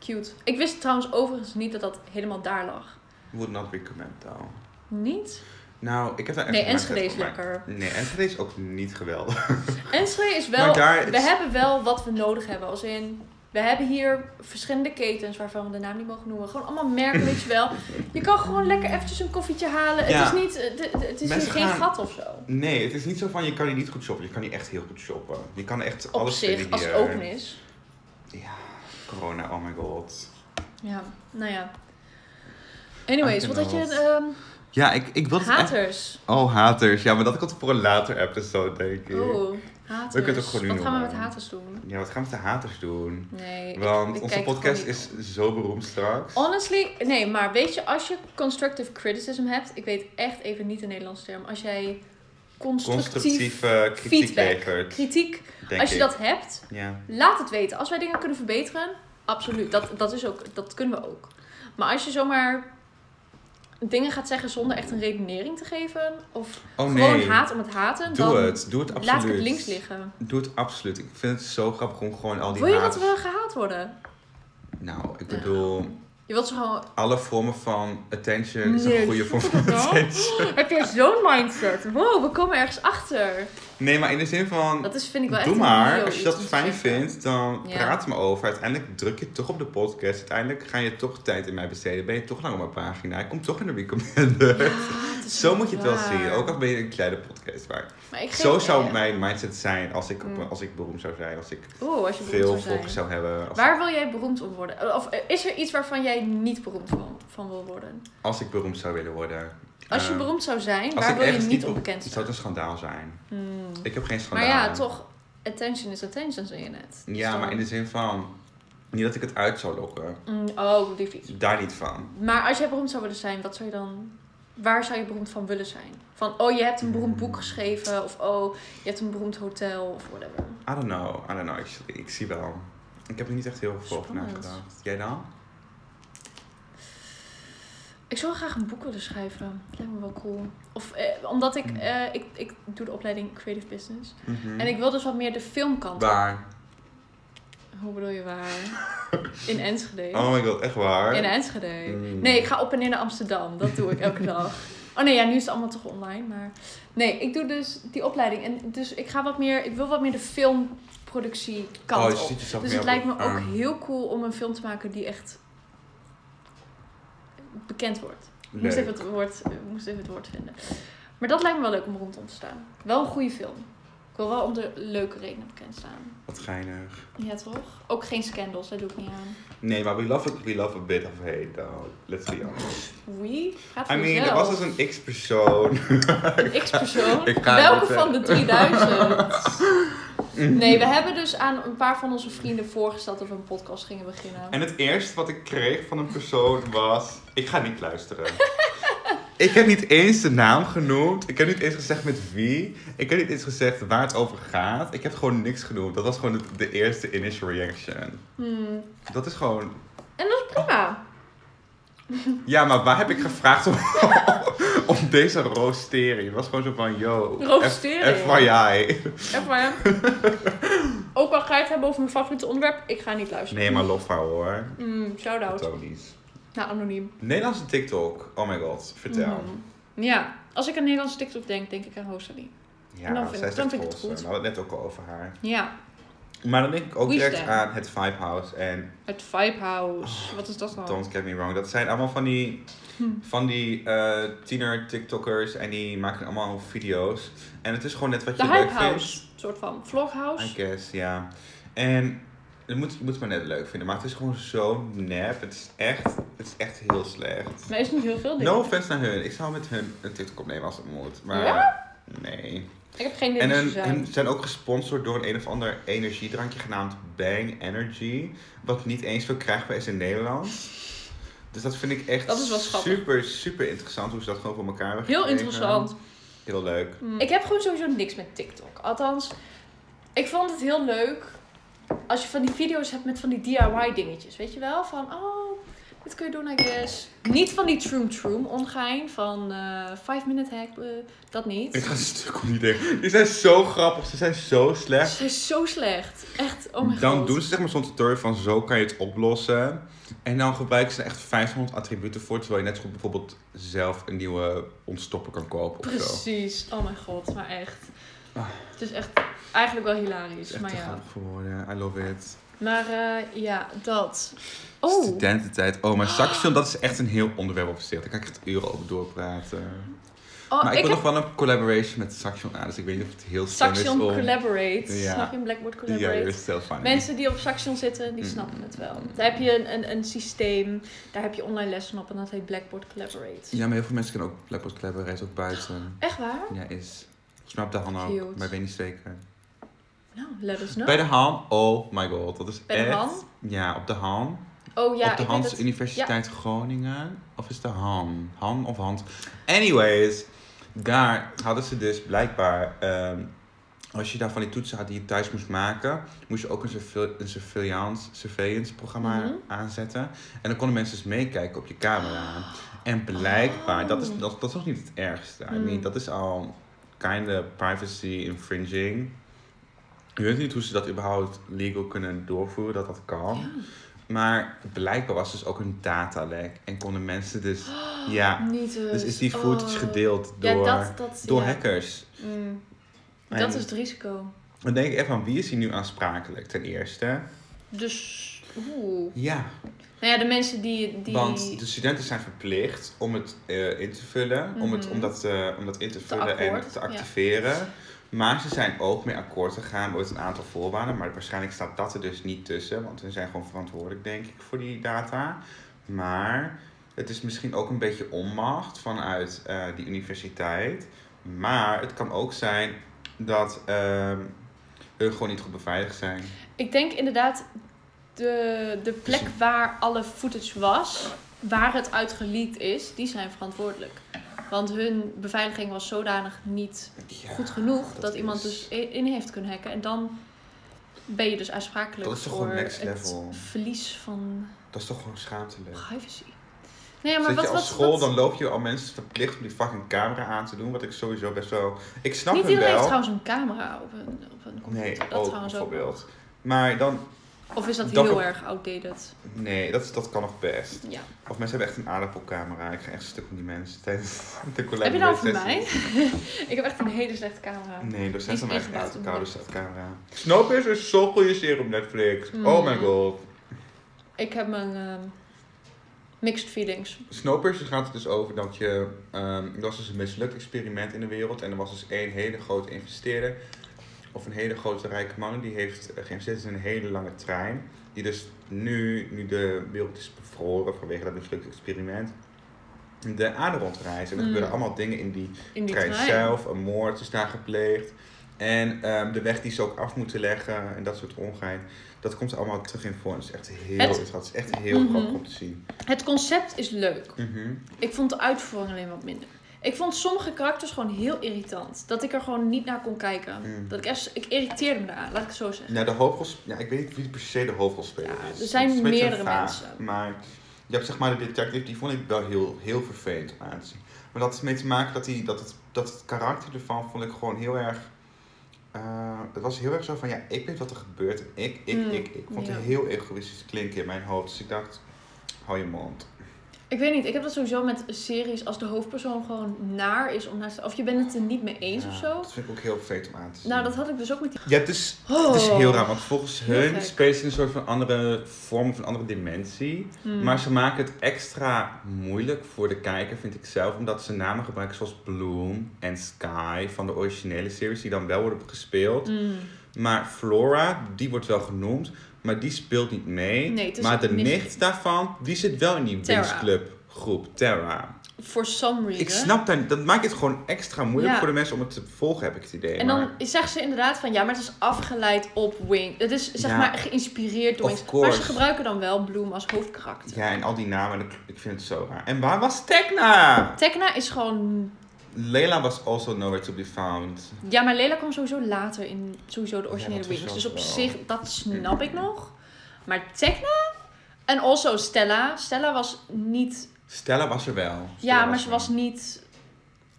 [SPEAKER 1] Cute. Ik wist trouwens overigens niet dat dat helemaal daar lag.
[SPEAKER 2] Would not recommend though.
[SPEAKER 1] Niet?
[SPEAKER 2] Nou, ik heb daar echt
[SPEAKER 1] Nee,
[SPEAKER 2] een mindset
[SPEAKER 1] Enschede is
[SPEAKER 2] voor, maar-
[SPEAKER 1] lekker.
[SPEAKER 2] Nee, Enschede is ook niet geweldig.
[SPEAKER 1] Enschede is wel...
[SPEAKER 2] Maar daar
[SPEAKER 1] We
[SPEAKER 2] is-
[SPEAKER 1] hebben wel wat we nodig hebben. Als in, we hebben hier verschillende ketens waarvan we de naam niet mogen noemen. Gewoon allemaal merken, weet je wel. Je kan gewoon lekker eventjes een koffietje halen.
[SPEAKER 2] Ja.
[SPEAKER 1] Het is, niet, eh, de- de- het is hier
[SPEAKER 2] Mensen
[SPEAKER 1] geen
[SPEAKER 2] gaan-
[SPEAKER 1] gat of zo.
[SPEAKER 2] Nee, het is niet zo van je kan hier niet goed shoppen. Je kan hier echt heel goed shoppen. Je kan echt
[SPEAKER 1] Op
[SPEAKER 2] alles
[SPEAKER 1] zich,
[SPEAKER 2] vinden
[SPEAKER 1] als het
[SPEAKER 2] hier.
[SPEAKER 1] open is.
[SPEAKER 2] Ja, corona, oh my god.
[SPEAKER 1] Ja, nou ja. Anyways,
[SPEAKER 2] Ah,
[SPEAKER 1] wat had je...
[SPEAKER 2] Uitgenodigd.
[SPEAKER 1] ehm,
[SPEAKER 2] Ja, ik, ik wil het echt-
[SPEAKER 1] haters.
[SPEAKER 2] Oh, haters. Ja, maar dat komt voor een later episode, denk ik.
[SPEAKER 1] Oh, haters.
[SPEAKER 2] We kunnen het ook gewoon nu
[SPEAKER 1] wat gaan we
[SPEAKER 2] noemen.
[SPEAKER 1] met haters doen?
[SPEAKER 2] Ja, wat gaan we met de haters doen?
[SPEAKER 1] Nee, ik-
[SPEAKER 2] Want
[SPEAKER 1] ik
[SPEAKER 2] onze
[SPEAKER 1] kijk
[SPEAKER 2] podcast
[SPEAKER 1] gewoon niet
[SPEAKER 2] is zo beroemd straks.
[SPEAKER 1] Honestly, nee, maar weet je, als je constructive criticism hebt, ik weet echt even niet de Nederlandse term, als jij constructief,
[SPEAKER 2] Constructieve kritiek
[SPEAKER 1] feedback,
[SPEAKER 2] levert,
[SPEAKER 1] kritiek,
[SPEAKER 2] denk
[SPEAKER 1] als je
[SPEAKER 2] ik.
[SPEAKER 1] dat hebt,
[SPEAKER 2] Ja.
[SPEAKER 1] laat het weten. Als wij dingen kunnen verbeteren, absoluut, dat, dat, is ook, dat kunnen we ook. Maar als je zomaar dingen gaat zeggen zonder echt een redenering te geven, of
[SPEAKER 2] Oh
[SPEAKER 1] gewoon
[SPEAKER 2] nee,
[SPEAKER 1] haat om het haten,
[SPEAKER 2] doe
[SPEAKER 1] dan
[SPEAKER 2] het. Doe het absoluut.
[SPEAKER 1] laat ik het links liggen.
[SPEAKER 2] Doe het absoluut. Ik vind het zo grappig om gewoon al die
[SPEAKER 1] Wil je dat
[SPEAKER 2] haters-
[SPEAKER 1] we gehaat worden?
[SPEAKER 2] Nou, ik bedoel,
[SPEAKER 1] Je wilt ze gewoon...
[SPEAKER 2] alle vormen van attention is
[SPEAKER 1] Nee,
[SPEAKER 2] een goede vorm
[SPEAKER 1] fuck
[SPEAKER 2] van
[SPEAKER 1] dat nou.
[SPEAKER 2] attention.
[SPEAKER 1] Heb je zo'n mindset? Wow, we komen ergens achter.
[SPEAKER 2] Nee, maar in de zin van,
[SPEAKER 1] Dat is, vind ik wel echt
[SPEAKER 2] Doe
[SPEAKER 1] een
[SPEAKER 2] maar,
[SPEAKER 1] heel
[SPEAKER 2] als je
[SPEAKER 1] iets
[SPEAKER 2] dat
[SPEAKER 1] om te
[SPEAKER 2] fijn
[SPEAKER 1] zeggen.
[SPEAKER 2] vindt, dan
[SPEAKER 1] Ja.
[SPEAKER 2] praat er maar over. Uiteindelijk druk je toch op de podcast. Uiteindelijk ga je toch tijd in mij besteden. Ben je toch lang op mijn pagina. Ik kom toch in de recommender.
[SPEAKER 1] Ja, Ah, het is
[SPEAKER 2] Zo moet je het wel
[SPEAKER 1] waar.
[SPEAKER 2] zien. Ook al ben je een kleine podcast. Maar
[SPEAKER 1] Maar ik geef-
[SPEAKER 2] zo zou
[SPEAKER 1] eh,
[SPEAKER 2] mijn mindset zijn als ik, op-
[SPEAKER 1] Mm.
[SPEAKER 2] als ik beroemd zou zijn. Als ik
[SPEAKER 1] Oeh, als je
[SPEAKER 2] veel
[SPEAKER 1] beroemd zou
[SPEAKER 2] volgers
[SPEAKER 1] zijn.
[SPEAKER 2] zou hebben. Als,
[SPEAKER 1] Waar wil jij beroemd om worden? Of eh, is er iets waarvan jij niet beroemd van, van wil worden?
[SPEAKER 2] als ik beroemd zou willen worden.
[SPEAKER 1] Als je
[SPEAKER 2] Eh,
[SPEAKER 1] beroemd zou zijn,
[SPEAKER 2] als
[SPEAKER 1] waar
[SPEAKER 2] ik
[SPEAKER 1] wil je
[SPEAKER 2] ergens
[SPEAKER 1] niet
[SPEAKER 2] niet
[SPEAKER 1] onbekend
[SPEAKER 2] Het
[SPEAKER 1] zijn?
[SPEAKER 2] zou een schandaal zijn.
[SPEAKER 1] Hmm.
[SPEAKER 2] Ik heb geen schandaal.
[SPEAKER 1] Maar ja, toch, attention is attention, zei je net. Dus
[SPEAKER 2] Ja,
[SPEAKER 1] dan-
[SPEAKER 2] maar in de zin van... Niet dat ik het uit zou lokken.
[SPEAKER 1] Hmm, oh, die fiets.
[SPEAKER 2] Daar niet van.
[SPEAKER 1] Maar als jij beroemd zou willen zijn, wat zou je dan... Waar zou je beroemd van willen zijn? Van, oh, je hebt een beroemd
[SPEAKER 2] Hmm.
[SPEAKER 1] boek geschreven. Of, oh, je hebt een beroemd hotel. Of whatever.
[SPEAKER 2] I don't know, I don't know actually. Ik zie wel. Ik heb er niet echt heel veel over
[SPEAKER 1] Spannend.
[SPEAKER 2] nagedacht. Jij dan?
[SPEAKER 1] Ik zou graag een boek willen schrijven. Dat lijkt me wel cool. Of eh, omdat ik,
[SPEAKER 2] Mm.
[SPEAKER 1] eh, ik, ik doe de opleiding Creative Business. En ik wil dus wat meer de filmkant. op.
[SPEAKER 2] Hmm. Waar?
[SPEAKER 1] Hoe bedoel je waar? In Enschede.
[SPEAKER 2] Oh my god, echt waar?
[SPEAKER 1] In Enschede.
[SPEAKER 2] Mm.
[SPEAKER 1] Nee, ik ga op en neer naar Amsterdam. Dat doe ik elke dag. Oh nee, ja, nu is het allemaal toch online. Maar nee, ik doe dus die opleiding. En dus ik ga wat meer, ik wil wat meer de filmproductie kant
[SPEAKER 2] oh, je
[SPEAKER 1] op.
[SPEAKER 2] ziet jezelf
[SPEAKER 1] Dus
[SPEAKER 2] meer
[SPEAKER 1] het lijkt me
[SPEAKER 2] op-
[SPEAKER 1] ook
[SPEAKER 2] ah,
[SPEAKER 1] heel cool om een film te maken die echt bekend wordt. Ik
[SPEAKER 2] leuk.
[SPEAKER 1] moest even, het woord, ik moest even het woord vinden. Maar dat lijkt me wel leuk om rondom te staan. Wel een goede film. Ik wil wel om de leuke redenen bekend staan.
[SPEAKER 2] Wat geinig.
[SPEAKER 1] Ja, toch? Ook geen scandals, daar doe ik niet aan.
[SPEAKER 2] Nee, maar we love it, we love a bit of hate though. Let's be honest.
[SPEAKER 1] Wie? Gaat
[SPEAKER 2] I
[SPEAKER 1] voor
[SPEAKER 2] mean, er
[SPEAKER 1] jezelf.
[SPEAKER 2] was dus een X-persoon.
[SPEAKER 1] Een X-persoon.
[SPEAKER 2] Ik ga
[SPEAKER 1] Welke
[SPEAKER 2] dit, eh,
[SPEAKER 1] van de 3000? Nee, we hebben dus aan een paar van onze vrienden voorgesteld dat we een podcast gingen beginnen.
[SPEAKER 2] En het eerste wat ik kreeg van een persoon was... Ik ga niet luisteren. ik heb niet eens de naam genoemd. Ik heb niet eens gezegd met wie. Ik heb niet eens gezegd waar het over gaat. Ik heb gewoon niks genoemd. Dat was gewoon de, de eerste initial reaction.
[SPEAKER 1] Hmm.
[SPEAKER 2] Dat is gewoon...
[SPEAKER 1] En dat is prima.
[SPEAKER 2] Ja, maar waar heb ik gevraagd om, om deze roostering? Het was gewoon zo van, yo.
[SPEAKER 1] Roostering?
[SPEAKER 2] F- FYI.
[SPEAKER 1] Echt waar, hè? Ook al ga je het hebben over mijn favoriete onderwerp, ik ga niet luisteren.
[SPEAKER 2] Nee, maar lof haar hoor.
[SPEAKER 1] Mm, shout-out.
[SPEAKER 2] Tony's.
[SPEAKER 1] Nou, anoniem.
[SPEAKER 2] Nederlandse TikTok. Oh my god, vertel.
[SPEAKER 1] Mhm. Ja, als ik aan Nederlandse TikTok denk, denk ik aan Rosalie.
[SPEAKER 2] Ja,
[SPEAKER 1] En dan Nou, vind
[SPEAKER 2] zij
[SPEAKER 1] ik-
[SPEAKER 2] is
[SPEAKER 1] dan
[SPEAKER 2] echt
[SPEAKER 1] vind ik het
[SPEAKER 2] roze. We
[SPEAKER 1] goed.
[SPEAKER 2] hadden het net ook al over haar.
[SPEAKER 1] Ja,
[SPEAKER 2] Maar dan denk ik ook
[SPEAKER 1] We
[SPEAKER 2] direct
[SPEAKER 1] stand.
[SPEAKER 2] aan het Vibe House en
[SPEAKER 1] het Vibe
[SPEAKER 2] Oh,
[SPEAKER 1] House. Wat is dat nou?
[SPEAKER 2] Don't Get Me Wrong. Dat zijn allemaal van die,
[SPEAKER 1] Hm.
[SPEAKER 2] van die eh, tiener TikTokkers en die maken allemaal video's. En het is gewoon net wat
[SPEAKER 1] De
[SPEAKER 2] je
[SPEAKER 1] Hype
[SPEAKER 2] leuk
[SPEAKER 1] House.
[SPEAKER 2] vindt.
[SPEAKER 1] Een soort van vloghouse.
[SPEAKER 2] I guess, ja. En je moet, je moet het maar net leuk vinden. Maar het is gewoon zo nep. Het is echt, het is echt heel slecht.
[SPEAKER 1] Maar is niet heel veel dingen.
[SPEAKER 2] No offense naar hun. Ik zou met hun een TikTok opnemen als het moet. Maar nee.
[SPEAKER 1] Ik heb geen
[SPEAKER 2] En
[SPEAKER 1] idee
[SPEAKER 2] hun,
[SPEAKER 1] te zijn.
[SPEAKER 2] hun zijn ook gesponsord door een, een of ander energiedrankje genaamd Bang Energy. Wat niet eens veel krijgbaar is in Nederland. Dus dat vind ik echt
[SPEAKER 1] Dat is wel schattig.
[SPEAKER 2] super, super interessant hoe ze dat gewoon voor elkaar hebben
[SPEAKER 1] Heel
[SPEAKER 2] gekregen.
[SPEAKER 1] interessant.
[SPEAKER 2] Heel leuk.
[SPEAKER 1] Ik heb gewoon sowieso niks met TikTok. Althans, ik vond het heel leuk als je van die video's hebt met van die DIY dingetjes. Weet je wel? Van, oh, dit kun je doen, I guess. Niet van die Troom Troom ongein van eh 5 Minute Hack. eh, dat
[SPEAKER 2] Ik
[SPEAKER 1] niet.
[SPEAKER 2] ga een stuk om die dingen. Die zijn zo grappig, ze zijn zo slecht.
[SPEAKER 1] Ze is zo slecht. Echt, oh mijn
[SPEAKER 2] dan
[SPEAKER 1] god.
[SPEAKER 2] doen ze zeg maar zo'n tutorial van zo kan je het oplossen. En dan gebruiken ze er echt 500 attributen voor. Terwijl je net zo goed bijvoorbeeld zelf een nieuwe ontstopper kan kopen of zo.
[SPEAKER 1] Precies. Oh mijn god, maar echt.
[SPEAKER 2] Ah.
[SPEAKER 1] Het is echt eigenlijk wel hilarisch.
[SPEAKER 2] Het is echt
[SPEAKER 1] maar
[SPEAKER 2] te
[SPEAKER 1] ja.
[SPEAKER 2] grappig voor woorden. I love it.
[SPEAKER 1] Maar eh, ja, dat. Oh,
[SPEAKER 2] Studententijd. Oh, maar Saxion, dat is echt een heel onderwerp op zich. Daar kan ik echt uren over doorpraten.
[SPEAKER 1] oh
[SPEAKER 2] maar ik,
[SPEAKER 1] ik
[SPEAKER 2] wil
[SPEAKER 1] heb
[SPEAKER 2] nog wel een collaboration met Saxion aan. Dus ik weet niet of het heel slim is
[SPEAKER 1] Saxion
[SPEAKER 2] om...
[SPEAKER 1] Collaborate.
[SPEAKER 2] Ja. eh,
[SPEAKER 1] Snap je? Blackboard
[SPEAKER 2] Ja,
[SPEAKER 1] Collaborate.
[SPEAKER 2] you're still funny.
[SPEAKER 1] Mensen die op Saxion zitten, die
[SPEAKER 2] Mm.
[SPEAKER 1] snappen het wel. Daar heb je een, een, een systeem, daar heb je online lessen op en dat heet Blackboard Collaborate.
[SPEAKER 2] Ja, maar heel veel mensen kunnen ook Blackboard Collaborate ook buiten.
[SPEAKER 1] Echt waar?
[SPEAKER 2] Ja, is... Volgens mij op de Han ook,
[SPEAKER 1] Cute.
[SPEAKER 2] maar ik weet niet zeker.
[SPEAKER 1] Nou, let us know.
[SPEAKER 2] Bij de Han, oh my god, dat is
[SPEAKER 1] Bij de
[SPEAKER 2] echt...
[SPEAKER 1] Han?
[SPEAKER 2] Ja, op de Han.
[SPEAKER 1] oh ja,
[SPEAKER 2] op de
[SPEAKER 1] ik weet
[SPEAKER 2] Hans
[SPEAKER 1] het.
[SPEAKER 2] Universiteit Groningen. Of is de Han? Han of Hans? Anyways, daar hadden ze dus blijkbaar... ehm, als je daar van die toetsen had die je thuis moest maken... moest je ook een, surveil- een surveillance, surveillance programma
[SPEAKER 1] Mhm.
[SPEAKER 2] aanzetten. En dan konden mensen dus meekijken op je camera. En blijkbaar, dat, is,
[SPEAKER 1] Oh.
[SPEAKER 2] dat, dat is nog niet het ergste. I
[SPEAKER 1] Mm.
[SPEAKER 2] mean, dat is al kind of privacy infringing. Je weet niet hoe ze dat überhaupt legal kunnen doorvoeren, dat dat kan. Maar blijkbaar was dus ook een datalek. En konden mensen dus... Ja,
[SPEAKER 1] Niet
[SPEAKER 2] dus is die
[SPEAKER 1] oh.
[SPEAKER 2] footage gedeeld
[SPEAKER 1] Ja,
[SPEAKER 2] door,
[SPEAKER 1] dat, dat,
[SPEAKER 2] door
[SPEAKER 1] ja.
[SPEAKER 2] hackers.
[SPEAKER 1] Mm. Dat
[SPEAKER 2] En-
[SPEAKER 1] is het risico.
[SPEAKER 2] Dan denk ik echt van, wie is hier nu aansprakelijk ten eerste?
[SPEAKER 1] Dus, oeh.
[SPEAKER 2] Ja,
[SPEAKER 1] Nou ja, de mensen die... die
[SPEAKER 2] want dus- de studenten zijn verplicht om het eh, in te vullen. om, het,
[SPEAKER 1] Mhm.
[SPEAKER 2] om, dat, eh, om dat in te vullen en
[SPEAKER 1] akkoord,
[SPEAKER 2] te
[SPEAKER 1] ja.
[SPEAKER 2] activeren. Maar ze zijn ook mee akkoord gegaan met een aantal voorwaarden. Maar waarschijnlijk staat dat er dus niet tussen. Want we zijn gewoon verantwoordelijk, denk ik, voor die data. Maar het is misschien ook een beetje onmacht vanuit eh, die universiteit. Maar het kan ook zijn dat ehm hun gewoon niet goed beveiligd zijn.
[SPEAKER 1] Ik denk inderdaad, de, de plek
[SPEAKER 2] Dus-
[SPEAKER 1] waar alle footage was, waar het uitgeleakt is, die zijn verantwoordelijk. Want hun beveiliging was zodanig niet
[SPEAKER 2] Ja,
[SPEAKER 1] goed genoeg dat,
[SPEAKER 2] dat
[SPEAKER 1] iemand
[SPEAKER 2] is-
[SPEAKER 1] dus i- in heeft kunnen hacken. En dan ben je dus aansprakelijk
[SPEAKER 2] Dat is toch
[SPEAKER 1] voor
[SPEAKER 2] gewoon next
[SPEAKER 1] het
[SPEAKER 2] level.
[SPEAKER 1] verlies van
[SPEAKER 2] Dat is toch gewoon schaamtelijk.
[SPEAKER 1] privacy. Nee, maar
[SPEAKER 2] Zit
[SPEAKER 1] wat,
[SPEAKER 2] je als
[SPEAKER 1] wat,
[SPEAKER 2] school,
[SPEAKER 1] wat-
[SPEAKER 2] dan loop je al mensen verplicht om die fucking camera aan te doen. Wat ik sowieso best wel... Ik snap
[SPEAKER 1] Niet
[SPEAKER 2] hem
[SPEAKER 1] iedereen heeft
[SPEAKER 2] wel.
[SPEAKER 1] trouwens een camera op een, op een computer.
[SPEAKER 2] nee,
[SPEAKER 1] dat
[SPEAKER 2] ook
[SPEAKER 1] trouwens ook.
[SPEAKER 2] bijvoorbeeld. Maar dan...
[SPEAKER 1] Of is dat,
[SPEAKER 2] Dat
[SPEAKER 1] heel
[SPEAKER 2] ook-
[SPEAKER 1] erg outdated?
[SPEAKER 2] Nee, dat, dat kan nog best.
[SPEAKER 1] Ja.
[SPEAKER 2] Of mensen hebben echt een aardappelcamera. Ik ga echt een stuk om die mensen tijdens de college.
[SPEAKER 1] Heb je nou voor mij? ik heb echt een hele slechte camera.
[SPEAKER 2] Nee, dat zijn
[SPEAKER 1] Die
[SPEAKER 2] ze
[SPEAKER 1] is
[SPEAKER 2] echt
[SPEAKER 1] ingebouwd
[SPEAKER 2] een
[SPEAKER 1] om-
[SPEAKER 2] koude staatcamera. Snowpiercer is zo'n goede serie op Netflix.
[SPEAKER 1] Mm.
[SPEAKER 2] Oh my god.
[SPEAKER 1] Ik heb mijn ehm, mixed feelings.
[SPEAKER 2] Snowpiercer gaat het dus over dat je... ehm er was dus een mislukt experiment in de wereld. En er was dus één hele grote investeerder. Of een hele grote rijke man. Die heeft eh, geïnvesteerd in een hele lange trein. Die dus nu, nu de wereld is bevroren vanwege dat mislukte experiment. De aarde rondreist. En er
[SPEAKER 1] Mm.
[SPEAKER 2] gebeuren allemaal dingen in die
[SPEAKER 1] In die
[SPEAKER 2] trein
[SPEAKER 1] trein.
[SPEAKER 2] zelf. Een moord is daar gepleegd. En ehm, de weg die ze ook af moeten leggen. En dat soort ongein. Dat komt allemaal terug in voor. En Het is echt heel
[SPEAKER 1] Het-
[SPEAKER 2] interessant. Het is echt heel
[SPEAKER 1] Mhm.
[SPEAKER 2] grappig om te zien.
[SPEAKER 1] Het concept is leuk.
[SPEAKER 2] Mhm.
[SPEAKER 1] Ik vond de uitvoering alleen wat minder. Ik vond sommige karakters gewoon heel irritant. Dat ik er gewoon niet naar kon kijken.
[SPEAKER 2] Mm.
[SPEAKER 1] Dat ik echt, ik irriteerde me aan, laat ik het zo zeggen.
[SPEAKER 2] Nou, de hoofdrolspeler. Ja, ik weet niet wie per se de hoofdrolspeler
[SPEAKER 1] Ja,
[SPEAKER 2] is.
[SPEAKER 1] er zijn
[SPEAKER 2] Het is een beetje
[SPEAKER 1] meerdere
[SPEAKER 2] vaag,
[SPEAKER 1] mensen.
[SPEAKER 2] Maar Je hebt zeg maar de detective, die vond ik wel heel, heel vervelend om aan te zien. Maar dat is mee te maken dat, die, dat, het, dat het karakter ervan vond ik gewoon heel erg... eh, het was heel erg zo van, ja, ik weet wat er gebeurt en ik, ik,
[SPEAKER 1] Mm,
[SPEAKER 2] ik, ik. vond
[SPEAKER 1] ja.
[SPEAKER 2] het heel egoïstisch klinken in mijn hoofd. Dus ik dacht, hou je mond.
[SPEAKER 1] Ik weet niet, ik heb dat sowieso met series als de hoofdpersoon gewoon naar is om naar te... Of je bent het er niet mee eens
[SPEAKER 2] Ja,
[SPEAKER 1] of zo.
[SPEAKER 2] Dat vind ik ook heel vervelend om aan te zien.
[SPEAKER 1] Nou, dat had ik dus ook met die...
[SPEAKER 2] Ja, het is,
[SPEAKER 1] Oh.
[SPEAKER 2] het is heel raar, want volgens
[SPEAKER 1] Heel
[SPEAKER 2] hun
[SPEAKER 1] gek.
[SPEAKER 2] spelen ze in een soort van andere vorm of een andere dimensie.
[SPEAKER 1] Hmm.
[SPEAKER 2] Maar ze maken het extra moeilijk voor de kijker, vind ik zelf, omdat ze namen gebruiken zoals Bloom en Sky van de originele series, die dan wel worden gespeeld.
[SPEAKER 1] Mm.
[SPEAKER 2] Maar Flora, die wordt wel genoemd, maar die speelt niet mee.
[SPEAKER 1] Nee, het is
[SPEAKER 2] maar de
[SPEAKER 1] een nicht.
[SPEAKER 2] nicht daarvan, die zit wel in die
[SPEAKER 1] Terra.
[SPEAKER 2] winstclub groep, Terra.
[SPEAKER 1] For some reason.
[SPEAKER 2] Ik snap dat, dat maakt het gewoon extra moeilijk
[SPEAKER 1] Ja.
[SPEAKER 2] voor de mensen om het te volgen, heb ik het idee.
[SPEAKER 1] En
[SPEAKER 2] maar-
[SPEAKER 1] dan zegt ze inderdaad van ja, maar het is afgeleid op Wing. Het is zeg
[SPEAKER 2] Ja.
[SPEAKER 1] maar geïnspireerd door
[SPEAKER 2] Of
[SPEAKER 1] Wings. Maar ze
[SPEAKER 2] course.
[SPEAKER 1] gebruiken dan wel Bloom als hoofdkarakter.
[SPEAKER 2] Ja, en al die namen, ik- ik vind het zo raar. En waar was Tekna?
[SPEAKER 1] Tekna is gewoon.
[SPEAKER 2] Leila was also nowhere to be found.
[SPEAKER 1] Ja, maar Lela kwam sowieso later in sowieso de originele
[SPEAKER 2] Ja, dat is
[SPEAKER 1] Wings.
[SPEAKER 2] ook
[SPEAKER 1] Dus op
[SPEAKER 2] wel.
[SPEAKER 1] zich, dat snap ik nog. Maar Tekna. En also Stella. Stella was niet.
[SPEAKER 2] Stella was er wel. Stella
[SPEAKER 1] Ja, maar ze
[SPEAKER 2] er.
[SPEAKER 1] was niet.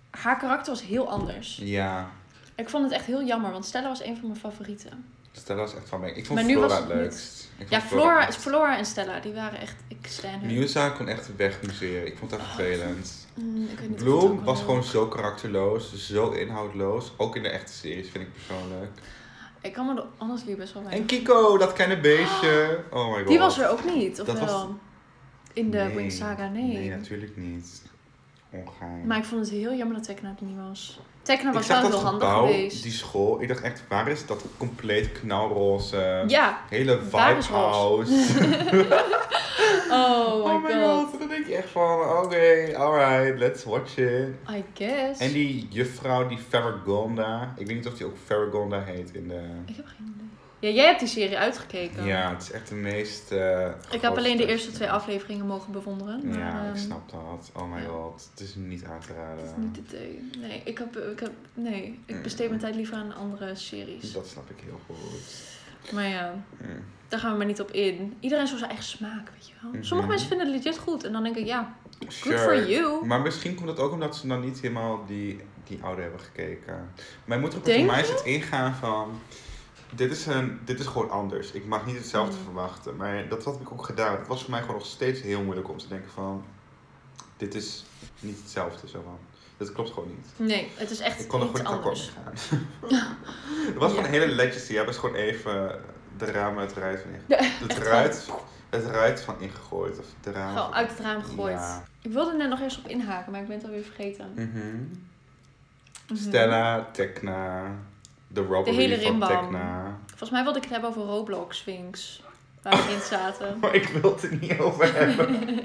[SPEAKER 1] Haar karakter was heel anders.
[SPEAKER 2] Ja,
[SPEAKER 1] Ik vond het echt heel jammer, want Stella was een van mijn favorieten.
[SPEAKER 2] Stella dus was echt van mij. Ik vond
[SPEAKER 1] Maar nu
[SPEAKER 2] Flora
[SPEAKER 1] was
[SPEAKER 2] het
[SPEAKER 1] het niet.
[SPEAKER 2] leukst. Ik
[SPEAKER 1] Ja,
[SPEAKER 2] vond het
[SPEAKER 1] Flora,
[SPEAKER 2] leukst.
[SPEAKER 1] Flora en Stella, die waren echt. Ik stan hun.
[SPEAKER 2] Musa kon echt wegmuseren. Ik vond haar vervelend.
[SPEAKER 1] Mm, Oh, ik weet niet of ik het ook
[SPEAKER 2] Bloom
[SPEAKER 1] wel
[SPEAKER 2] was
[SPEAKER 1] wil.
[SPEAKER 2] gewoon zo karakterloos, zo inhoudloos. Ook in de echte series, vind ik
[SPEAKER 1] Oh,
[SPEAKER 2] persoonlijk.
[SPEAKER 1] Ik kan me er anders weer best wel bij.
[SPEAKER 2] En Kiko, dat kleine beestje. Oh my god.
[SPEAKER 1] Die was er ook niet, of
[SPEAKER 2] Dat was-
[SPEAKER 1] wel? In de
[SPEAKER 2] Nee.
[SPEAKER 1] Wing Saga, nee.
[SPEAKER 2] Nee, natuurlijk niet. Ongeheim.
[SPEAKER 1] Maar ik vond het heel jammer dat Tekna er niet was. Tekna was
[SPEAKER 2] ik zag
[SPEAKER 1] wel
[SPEAKER 2] dat
[SPEAKER 1] heel handig
[SPEAKER 2] gebouw,
[SPEAKER 1] geweest.
[SPEAKER 2] die school. Ik dacht echt, waar is dat compleet knalroze,
[SPEAKER 1] Ja,
[SPEAKER 2] hele
[SPEAKER 1] Waar
[SPEAKER 2] vibe
[SPEAKER 1] is roze?
[SPEAKER 2] house?
[SPEAKER 1] oh my,
[SPEAKER 2] oh my
[SPEAKER 1] god.
[SPEAKER 2] god. Dan denk je echt van, oké, alright, let's watch it.
[SPEAKER 1] I guess.
[SPEAKER 2] En die juffrouw, die Farragonda. Ik weet niet of die ook Farragonda heet in de...
[SPEAKER 1] Ik heb geen idee. Ja, jij hebt die serie uitgekeken.
[SPEAKER 2] Ja, het is echt de meest... eh,
[SPEAKER 1] Ik heb
[SPEAKER 2] grootste-
[SPEAKER 1] alleen de eerste twee afleveringen mogen bewonderen. maar,
[SPEAKER 2] Ja,
[SPEAKER 1] ehm,
[SPEAKER 2] ik snap eh. dat. Oh my
[SPEAKER 1] ja.
[SPEAKER 2] god, het is niet aan te
[SPEAKER 1] dat is
[SPEAKER 2] raden.
[SPEAKER 1] niet het idee. Nee, ik, heb, ik, heb, nee, ik besteed mijn tijd liever aan andere series.
[SPEAKER 2] Mm. Dat snap ik heel goed.
[SPEAKER 1] Maar ja,
[SPEAKER 2] Mm.
[SPEAKER 1] daar gaan we maar niet op in. Iedereen heeft zo zijn eigen smaak, weet je wel. Sommige
[SPEAKER 2] Mhm.
[SPEAKER 1] mensen vinden het legit goed. En dan denk ik, ja, good
[SPEAKER 2] Sure.
[SPEAKER 1] for you.
[SPEAKER 2] Maar misschien komt dat ook omdat ze dan niet helemaal die, die oude hebben gekeken. Mijn moeder
[SPEAKER 1] Denk
[SPEAKER 2] volgens mij is het ingaan van... Dit is, een, dit is gewoon anders. Ik mag niet hetzelfde
[SPEAKER 1] Mm.
[SPEAKER 2] verwachten. Maar dat had ik ook gedaan. Het was voor mij gewoon nog steeds heel moeilijk om te denken van... Dit is niet hetzelfde. Zo van. Dat klopt gewoon niet.
[SPEAKER 1] Nee, het is echt
[SPEAKER 2] Ik kon er
[SPEAKER 1] iets
[SPEAKER 2] gewoon niet akkoord
[SPEAKER 1] anders.
[SPEAKER 2] mee gaan. Het was gewoon
[SPEAKER 1] Ja.
[SPEAKER 2] hele ledjes. Die hebben ze gewoon even de ramen het ruit van
[SPEAKER 1] Ja,
[SPEAKER 2] ingegooid. Het ruit, het ruit van ingegooid. Of de ramen
[SPEAKER 1] Gewoon
[SPEAKER 2] van-
[SPEAKER 1] uit het raam gegooid.
[SPEAKER 2] Ja.
[SPEAKER 1] Ik wilde net nog eens op inhaken, maar ik ben het alweer vergeten.
[SPEAKER 2] Mhm.
[SPEAKER 1] Mhm.
[SPEAKER 2] Stella, Tekna, de robbery
[SPEAKER 1] hele
[SPEAKER 2] van
[SPEAKER 1] rimbam.
[SPEAKER 2] Tekna.
[SPEAKER 1] Volgens mij wilde ik het hebben over Roblox Sphinx. Waar we in zaten.
[SPEAKER 2] Maar Oh, ik wil het er niet over hebben.